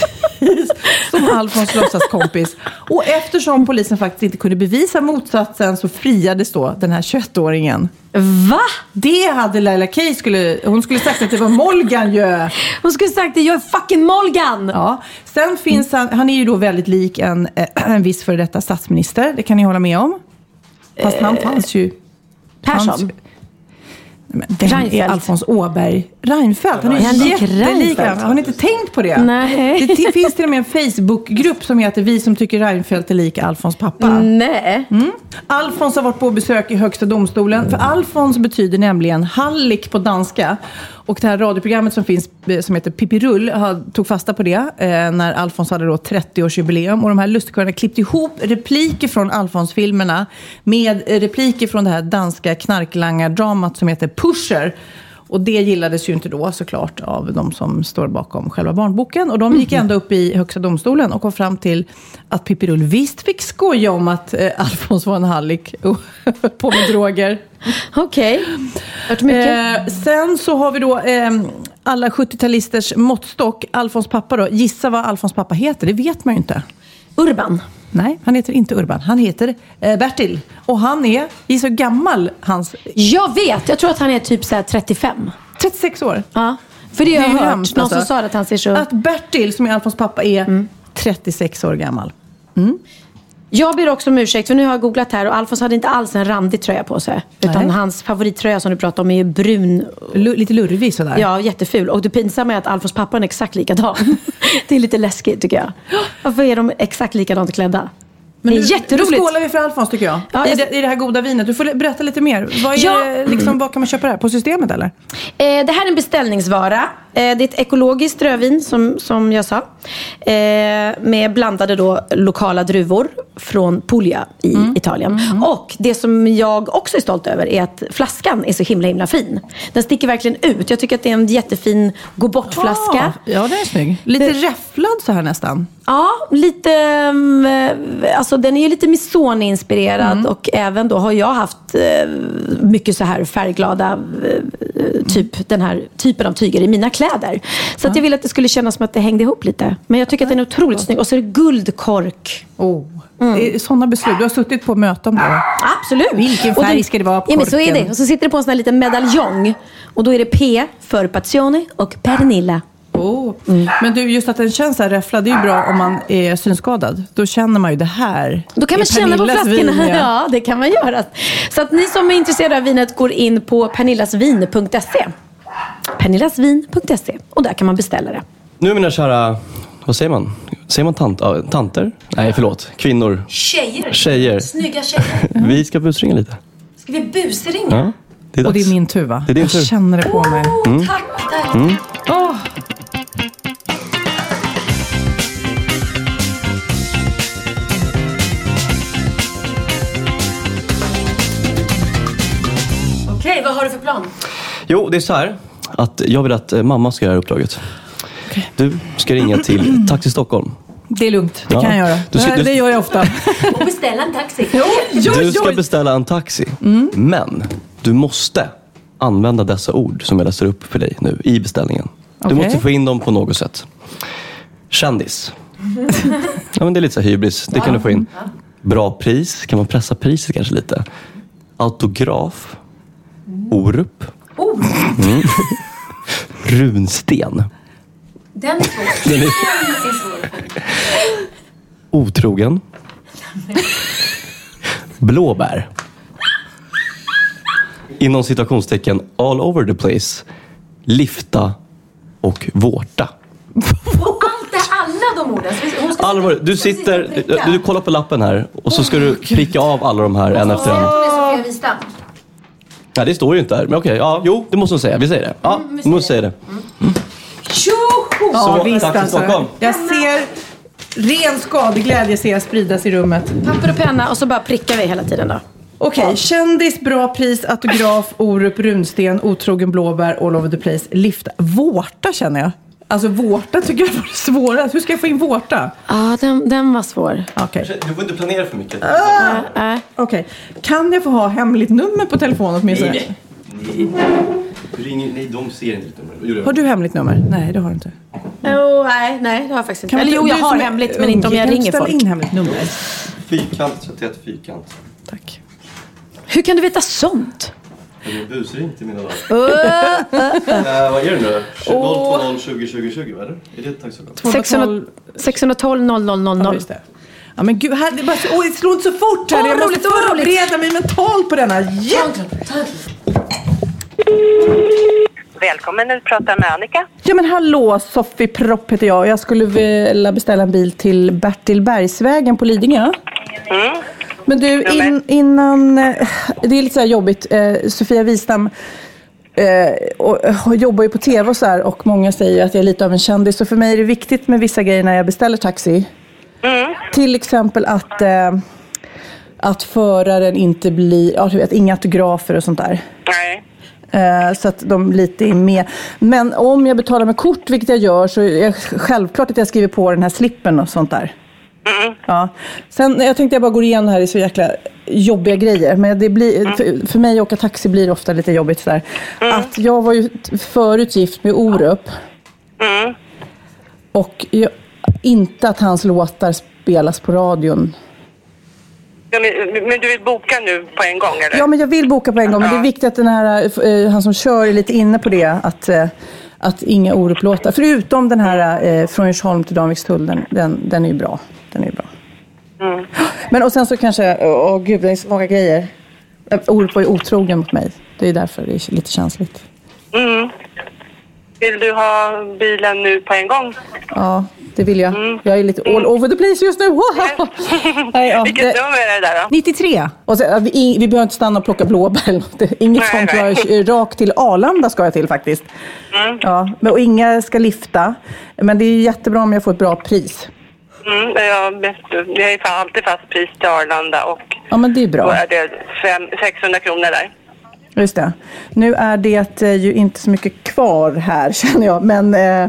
B: som Alfons låtsaskompis. Och eftersom polisen faktiskt inte kunde bevisa motsatsen så friades då den här 21-åringen.
C: Va?
B: Det hade Laila Kay skulle, hon skulle sagt att det var Molgan ju.
C: Hon skulle sagt det, jag är fucking Molgan.
B: Ja. Sen finns han, han är ju då väldigt lik en, eh, en viss före detta statsminister, det kan ni hålla med om. Fast han
C: Eh,
B: fanns ju.
C: Persson?
B: fanns ju- Nej, men vem är
C: Reinfeldt.
B: Alfons Åberg? Reinfeldt? Han är
C: Är han
B: ju
C: lik
B: jättelik
C: Reinfeldt?
B: Reinfeldt. Har ni inte tänkt på det?
C: Nej.
B: Det t- finns till och med en Facebookgrupp som heter Vi som tycker Reinfeldt är lik Alfons pappa.
C: Nej.
B: Mm. Alfons har varit på besök i Högsta domstolen. För Alfons betyder nämligen hallick på danska. Och det här radioprogrammet som finns eh, som heter Pippi Rull har- tog fasta på det eh, när Alfons hade då 30-årsjubileum. Och de här lustigkurrarna klippte ihop repliker från Alfons-filmerna med eh, repliker från det här danska knarklangardramat som heter Pusher. Och det gillades ju inte då såklart av de som står bakom själva barnboken. Och de gick
C: Mm.
B: ändå upp i Högsta domstolen och kom fram till att Pippi Rull visst fick skoja om att eh, Alfons var en hallick och höll på med droger.
C: Okej. Hört mycket.
B: Eh, sen så har vi då eh, alla 70-talisters måttstock, Alfons pappa då. Gissa vad Alfons pappa heter, det vet man ju inte.
C: Urban.
B: Nej, han heter inte Urban. Han heter eh, Bertil. Och han är, gissa hur gammal hans...
C: Jag vet, jag tror att han är typ så här 35.
B: 36 år.
C: Ja. För det
B: är
C: har
B: ju
C: jag hört. Någon
B: hemskt, alltså.
C: som sa att han ser så...
B: Att Bertil, som är Alfons pappa, är 36 år gammal.
C: Jag ber också om ursäkt för nu har jag googlat här och Alfons hade inte alls en randig tröja på sig. Utan
B: Nej.
C: hans favorittröja som du pratade om är ju brun.
B: lite lurvig sådär.
C: Ja, jätteful. Och det pinsamma är att Alfons pappa är exakt likadan. det är lite läskigt tycker jag. Varför är de exakt likadant klädda? det är
B: nu,
C: jätteroligt.
B: Nu skålar vi för Alfons tycker jag.
C: Ja,
B: I,
C: jag-
B: det, I det här goda vinet. Du får berätta lite mer. Vad, är,
C: Ja.
B: det, liksom, vad kan man köpa det här? På systemet eller?
C: Eh, det här är en beställningsvara. Eh, det är ett ekologiskt rödvin som, som jag sa. Eh, med blandade då lokala druvor från Puglia i
B: Mm.
C: Italien. Och det som jag också är stolt över är att flaskan är så himla himla fin. Den sticker verkligen ut. Jag tycker att det är en jättefin gå bort-flaska.
B: Ja, ja, det är snygg. Lite räfflad så här nästan.
C: Ja, lite, ehm, alltså den är ju lite Missoni-inspirerad
B: Mm.
C: och även då har jag haft eh, mycket så här färgglada, eh, typ den här typen av tyger i mina kläder. Så att jag ville att det skulle kännas som att det hängde ihop lite. Men jag tycker att den är otroligt snygg. Och så är det guldkork.
B: Oh.
C: Mm.
B: Det är Sådana beslut. Du har suttit på möte om det va?
C: Absolut.
B: Vilken
C: Och
B: färg ska det vara på
C: ja, men så är
B: korken?
C: det. Och så sitter det på en sån här liten medaljong. Och då är det P för Pazione och Pernilla.
B: Oh. Men du, just att den känns så här räfflad, det är ju bra om man är synskadad. Då känner man ju det här.
C: Då kan
B: är
C: man känna på
B: Pernillas
C: flaskorna.
B: vin, ja.
C: ja, det kan man göra. Så att ni som är intresserade av vinet går in på pernillasvin.se. Pernillasvin.se och där kan man beställa det.
D: Nu mina kära, vad säger man? Säger man tant, ja, tanter? Nej, förlåt. Kvinnor.
C: Tjejer.
D: Tjejer.
C: Snygga tjejer.
B: Mm.
D: Vi ska busringa lite.
C: Ska vi busringa?
D: Ja, det är dags.
B: Och det är min tur va?
D: Det är din
B: jag
D: tur.
B: känner det på mig.
D: Mm. Mm.
B: Åh.
C: har du för plan?
D: Jo, det är så här att jag vill att eh, mamma ska göra det här uppdraget. Du ska ringa till Taxi Stockholm.
B: Det är lugnt, det
D: Ja.
B: kan jag göra.
D: Du ser-
B: det,
D: du-
B: det gör jag ofta.
C: Och beställa en taxi.
D: Du ska beställa en taxi. Men du måste använda dessa ord som jag läser upp för dig nu i beställningen. Du
I: Okej.
D: måste få in dem på något sätt. Kändis. Ja, men det är lite så här hybris. Det kan du få in. Bra pris. Kan man pressa priset kanske lite? Autograf. Orup.
C: Oh.
D: Mm. Runsten.
C: Den är svår.
D: Den är-
C: Den är svår.
D: Otrogen. Blåbär. Inom citationstecken all over the place. Lifta och vårta.
C: Och allt det, alla de orden. Så vi- Hon ska
D: Allvar, du sitter, du, du kollar på lappen här och så ska du pricka av alla de här en efter en.
C: hon är Sofia Wistam.
D: Nej, det står ju inte här. Men okej, ja, jo, det måste hon säga. Vi säger det. Ja, Mm, vi måste säga det.
B: Tjoho!
D: Så, tack till Stockholm.
B: Jag ser ren skadeglädje ser jag spridas i rummet.
C: Papper och penna och så bara prickar vi hela tiden då.
B: Okej, kändis, bra pris, autograf, Orup, runsten, otrogen blåbär, all over the place, lifta. Vårta känner jag. Alltså vårta tycker jag var det svåraste. Hur ska jag få in vårta? Ah,
C: Ja, den, den var svår.
B: Okej.
D: Du får inte planera för mycket.
B: Ah! Okej. Kan jag få ha hemligt nummer på telefonen åtminstone?
D: Nej. Ring, nej, de ser inte ditt nummer.
B: Har du hemligt nummer? Nej, det har du inte.
C: Oh, nej, nej, det har jag faktiskt inte.
B: Kan
C: Eller
B: man-
C: jo, jag
B: du
C: har
B: som är
C: hemligt,
B: ung,
C: men inte om jag
B: kan du
C: ringer
B: ställa
C: folk.
B: in hemligt nummer?
D: Fyrkant, så att det heter fyrkant.
C: Hur kan du veta sånt?
D: Jag blir busringd i mina dagar.
C: Öh, öh, öh.
D: Eh, vad är det nu?
C: Åh.
D: 020 20 20 20, eller? Är det taxikort?
C: 600 612
B: Ja,
C: 0000.
B: just det. Ja, men gud, här, det, är bara, så- åh, det slår inte så fort här.
C: Åh,
B: jag
C: roligt,
B: måste
C: åh, roligt.
B: förbereda mig mentalt på denna jätte...
J: Välkommen, du pratar med Annika.
B: Ja men hallå, Sofie Propp heter jag. Jag skulle vilja beställa en bil till Bertil Bergsvägen på Lidingö.
J: Mm.
B: Men du, in, innan... eh, Det är lite så här jobbigt. Eh, Sofia Wistam eh, och, och jobbar ju på tv och så här och många säger ju att jag är lite av en kändis. Så för mig är det viktigt med vissa grejer när jag beställer taxi. Till exempel att, eh, att föraren inte blir... Ja, du vet, inga autografer och sånt där. Eh, Så att de lite är med. Men om jag betalar med kort, vilket jag gör, så är jag självklart att jag skriver på den här slippen och sånt där. Ja. Sen, jag tänkte jag bara går igenom här, det är så jäkla jobbiga grejer. Men det blir, för, för mig att åka taxi blir ofta lite jobbigt sådär. Att jag var ju t- förut gift med Orup. Och jag, inte att hans låtar spelas på radion.
J: Ja, men, men du vill boka nu på en gång, eller?
B: Ja, men jag vill boka på en gång. Men det är viktigt att den här, eh, han som kör är lite inne på det. Att, eh, att inga Orup-låtar. Förutom den här eh, Från Djursholm till Danvikstull. Den, den, den är ju bra. Den är ju bra. Men och sen så kanske, åh gud det är så många grejer. Eh, Orup var ju otrogen mot mig. Det är därför det är lite känsligt.
J: Mm. Vill du ha bilen nu på en gång?
B: Ja, det vill jag. Jag är lite all over the place just nu. Nej, ja,
J: Vilket
B: det-
J: nummer är det där då?
B: 93. Och sen, ja, vi, i- vi behöver inte stanna och plocka blåbär eller något. Inget
J: Nej, Mm.
B: sånt.
J: nej.
B: Jag är Rakt till Arlanda ska jag till faktiskt. Ja, men, och inga ska lifta. Men det är ju jättebra om jag får ett bra pris.
J: Mm, jag, jag är fa- alltid fast pris till Arlanda och
B: Ja, men det är
J: då
B: bra.
J: är det fem, 600 kronor där.
B: Just det. Nu är det eh, ju inte så mycket kvar här känner jag. Men eh,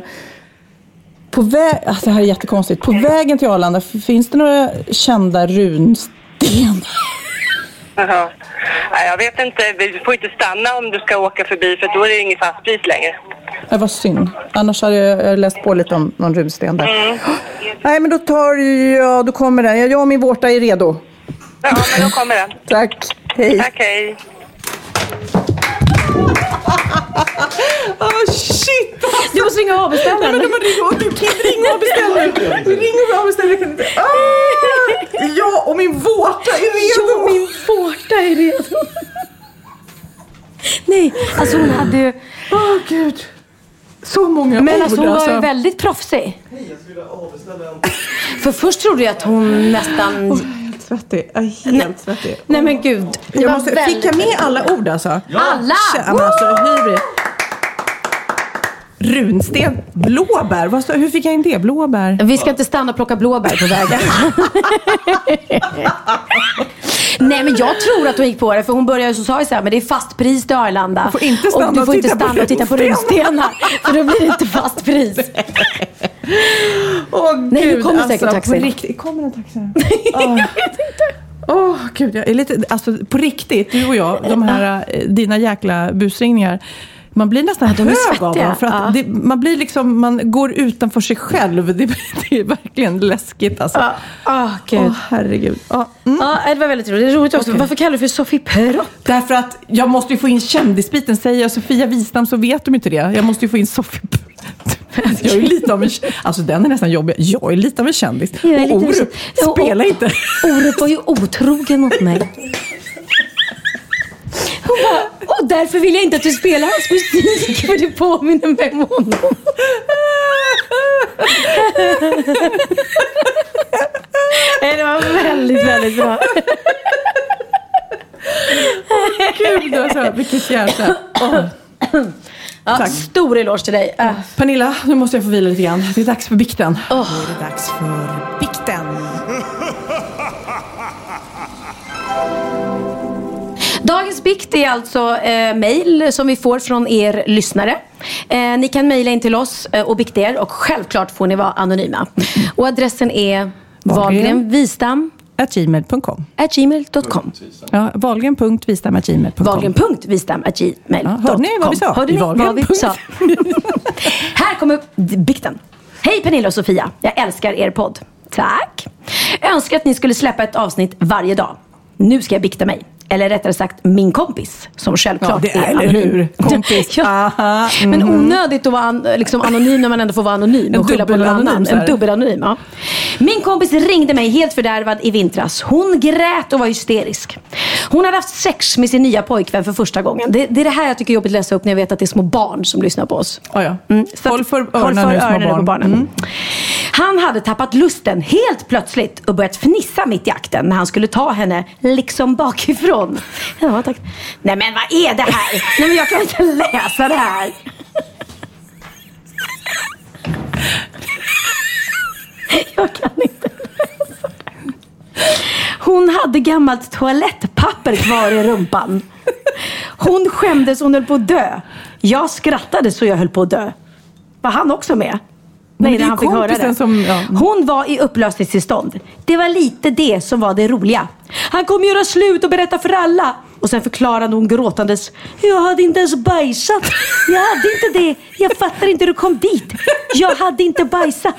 B: på väg... Alltså, det här är jättekonstigt.
J: Mm.
B: På vägen till Arlanda, f- finns det några kända runstenar?
J: Jaha. Nej, jag vet inte. Du får inte stanna om du ska åka förbi för då är det inget fast pris längre.
B: Nej, vad synd. Annars hade jag jag läst på lite om någon runsten där.
J: Mm.
B: Nej, men då tar jag... Då kommer den. Jag och min vårta är redo.
J: Ja, men då kommer den.
B: Tack. Hej.
J: Tack, hej.
B: Oh, shit!
C: Du måste ringa och avbeställa.
B: Nej, men de har ringt och- du kan inte ringa och avbeställa. Du ringer och avbeställer. jag kan inte- Ah! Ja, och min vårta är redo.
C: Ja, min vårta är redo. Nej, alltså hon hade ju...
B: Åh gud. Så många
C: Men
B: ord,
C: alltså hon var ju
B: alltså.
C: väldigt proffsig. För först trodde jag att hon nästan...
B: helt svettig. Jag är helt svettig.
C: Nej men gud. Det
B: Jag
C: var
B: måste,
C: väldigt-
B: fick jag med alla ord alltså?
C: Ja. Alla!
B: Tja, men Alltså, hur... Runsten, blåbär. Vad, står- hur fick jag in det? Blåbär?
C: Vi ska inte stanna och plocka blåbär på vägen. Nej men jag tror att hon gick på det för hon började så sa ju såhär, men det är fast pris till Arlanda.
B: Du får inte stanna
C: och du
B: och
C: får inte
B: titta på
C: stanna och titta på
B: runstenar."
C: runstenar. För då blir det inte fast pris.
B: Åh
C: Nej, nu
B: gud,
C: kommer
B: alltså,
C: säkert taxin.
B: På riktigt, kommer en taxi? jag vet inte. Åh gud, jag är lite, alltså på riktigt, du och jag, de här, eh, dina jäkla busringningar. Man blir nästan
C: de är
B: hög av
C: svettiga.
B: dem. För att
C: Ja.
B: det, man blir liksom, man går utanför sig själv. Det, det är verkligen läskigt alltså.
C: Ja. Åh, gud.
B: Åh, herregud. Ja, mm.
C: Ja, det var väldigt roligt. Det är roligt också. Varför kallar du för Sofie Peropp?
B: Därför att jag måste ju få in kändisbiten. Säger jag Sofia Wistam så vet de inte det. Jag måste ju få in Sofie Alltså, jag är ju lite av en, alltså den är nästan jobbig. Jag är lite av en kändis.
C: Jag är
B: Och
C: lite-
B: Orup,
C: Ja, och-
B: spela inte.
C: Orup var ju otrogen mot mig. Hon bara, och därför vill jag inte att du spelar hans musik för det påminner mig om honom. Nej, det var väldigt, väldigt bra.
B: Gud, alltså, vilket jävla... Åh.
C: Ja,
B: Tack.
C: Stor eloge till dig. Äh.
B: Pernilla, nu måste jag få vila lite grann. Det är dags för bikten. Nu är det dags för bikten.
C: Dagens bikt är alltså eh, mejl som vi får från er lyssnare. Eh, ni kan mejla in till oss eh, och bikta er och självklart får ni vara anonyma. Och adressen är wahlgrenvistam
B: At gmail.com.
C: at gmail.com.
B: Ja, valgren.vistam.gmail.com.
C: Wahlgren.vistam.gmail.com.
B: Ja, hörde ni vad vi sa?
C: Hörde ni vad vi
B: Wahlgren.
C: sa? Här kommer d- bikten. Hej Pernilla och Sofia. Jag älskar er podd. Tack. Jag önskar att ni skulle släppa ett avsnitt varje dag. Nu ska jag bikta mig. Eller rättare sagt min kompis som självklart
B: Ja, det är, eller
C: anonym.
B: hur? Kompis. Aha,
C: Men
B: mhm.
C: onödigt att vara an, liksom anonym när man ändå får vara anonym
B: En
C: och skylla på någon
B: dubbelanonym,
C: annan.
B: så här.
C: En dubbelanonym. Ja. Min kompis ringde mig helt fördärvad i vintras. Hon grät och var hysterisk. Hon hade haft sex med sin nya pojkvän för första gången. Det, det är det här jag tycker är jobbigt att läsa upp när jag vet att det är små barn som lyssnar på oss.
B: Ja, ja.
C: Mm, så att-
B: Håll för
C: håll
B: öronen
C: för
B: nu, små
C: öronen
B: barn. Mm.
C: på barnen. Han hade tappat lusten helt plötsligt och börjat fnissa mitt i akten när han skulle ta henne liksom bakifrån. Ja, tack. Nej men vad är det här? Nej men jag kan inte läsa det här. Jag kan inte läsa det här. Hon hade gammalt toalettpapper kvar i rumpan. Hon skämdes, hon höll på att dö. Jag skrattade så jag höll på att dö. Var han också med?
B: Men
C: Nej,
B: det
C: när
B: är
C: han fick höra
B: kompisen
C: det.
B: som- ja. mm.
C: Hon var i upplösningstillstånd. Det var lite det som var det roliga. Han kommer göra slut och berätta för alla. Och sen förklarade hon gråtandes. Jag hade inte ens bajsat. Jag hade inte det. Jag fattar inte hur du kom dit. Jag hade inte bajsat.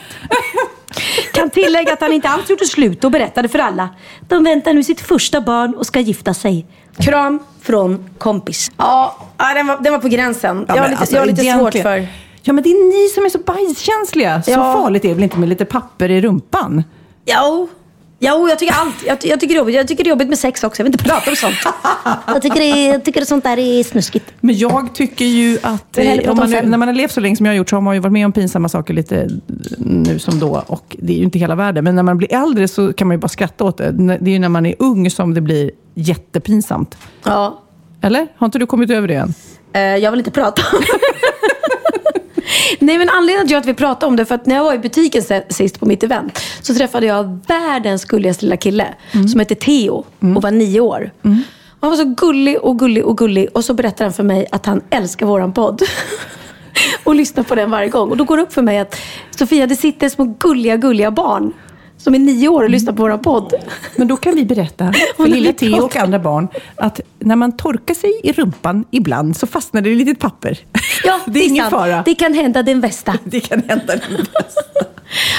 C: Kan tillägga att han inte alls gjorde slut och berättade för alla. De väntar nu sitt första barn och ska gifta sig. Kram från kompis. Ja, ja, den var, den var på gränsen. jag
B: Ja,
C: har
B: men
C: lite,
B: alltså,
C: jag har lite svårt
B: egentligen-
C: för...
B: Ja, men det är ni som är så bajskänsliga. Så
C: Ja.
B: farligt är det väl inte med lite papper i rumpan?
C: Jo. Jo, jag tycker allt. Jag, ty- jag, tycker det är jobbigt. jag tycker det är jobbigt med sex också. Jag vill inte prata om sånt. Jag tycker, det, jag tycker sånt där är snuskigt.
B: Men jag tycker ju att
C: Vi häller på
B: eh, om man,
C: dem sen.
B: när man har levt så länge som jag har gjort så har man ju varit med om pinsamma saker lite nu som då. Och det är ju inte hela världen. Men när man blir äldre så kan man ju bara skratta åt det. Det är ju när man är ung som det blir jättepinsamt.
C: Ja.
B: Eller? Har inte du kommit över det än?
C: Eh, jag vill inte prata om det. Nej men anledningen till att vi pratade om det för att när jag var i butiken se- sist på mitt event så träffade jag världens gulligaste lilla kille som hette Theo och var nio år. Han var så gullig och gullig och gullig och så berättar han för mig att han älskar våran podd. och lyssnar på den varje gång. Och då går det upp för mig att Sofia det sitter små gulliga gulliga barn som är nio år och lyssnar på våran podd.
B: Men då kan vi berätta för
C: Hon har
B: lilla
C: lite
B: Theo och
C: pratat.
B: andra barn att när man torkar sig i rumpan ibland så fastnar det i litet papper.
C: Ja,
B: det är ingen
C: sant.
B: fara.
C: Det kan hända den bästa.
B: Det kan hända den bästa.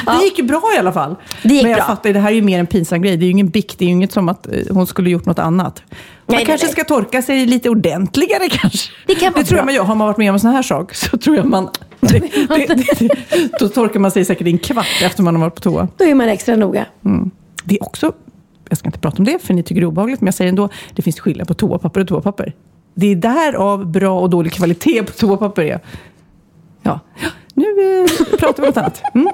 B: Det gick ju bra i alla fall.
C: Det gick
B: Men jag
C: bra.
B: fattar, ju, det här är ju mer en pinsam grej. Det är ju ingen bikt, det är ju inget som att eh, hon skulle gjort något annat. Man
C: nej,
B: kanske
C: nej.
B: ska torka sig lite ordentligare kanske.
C: Det kan vara
B: tror
C: bra.
B: jag man gör. Har man varit med om en sån här sak så tror jag man... Det, det, det, då torkar man sig säkert i en kvart efter man har varit på toa.
C: Då är man extra noga.
B: Det är också, jag ska inte prata om det för ni tycker det är obehagligt, men jag säger ändå, det finns skillnad på toapapper och toapapper. Det är därav bra och dålig kvalitet på toapapper är. Ja, nu eh, pratar vi om något annat. Mm.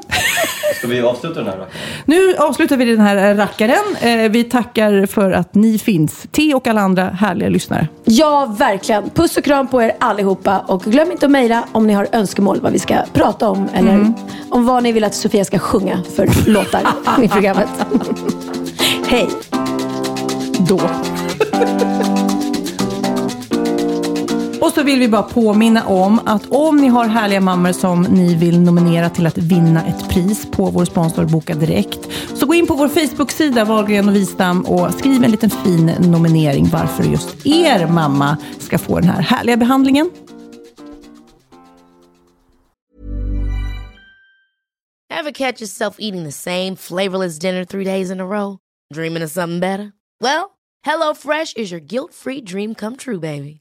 D: Ska vi avsluta den här då?
B: Nu avslutar vi den här rackaren. Eh, Vi tackar för att ni finns, T och alla andra härliga lyssnare.
C: Ja, verkligen. Puss och kram på er allihopa. Och glöm inte att mejla om ni har önskemål vad vi ska prata om. Eller
B: Mm.
C: om vad ni vill att Sofia ska sjunga för låtar i programmet. Hej!
B: då. Och så vill vi bara påminna om att om ni har härliga mammor som ni vill nominera till att vinna ett pris på vår sponsor Boka Direkt, så gå in på vår Facebook-sida Wahlgren och Wistam och skriv en liten fin nominering varför just er mamma ska få den här härliga behandlingen.
K: Ever catch yourself eating the same flavorless dinner three days in a row? Dreaming of something better? Well, HelloFresh is your guilt free dream come true, baby.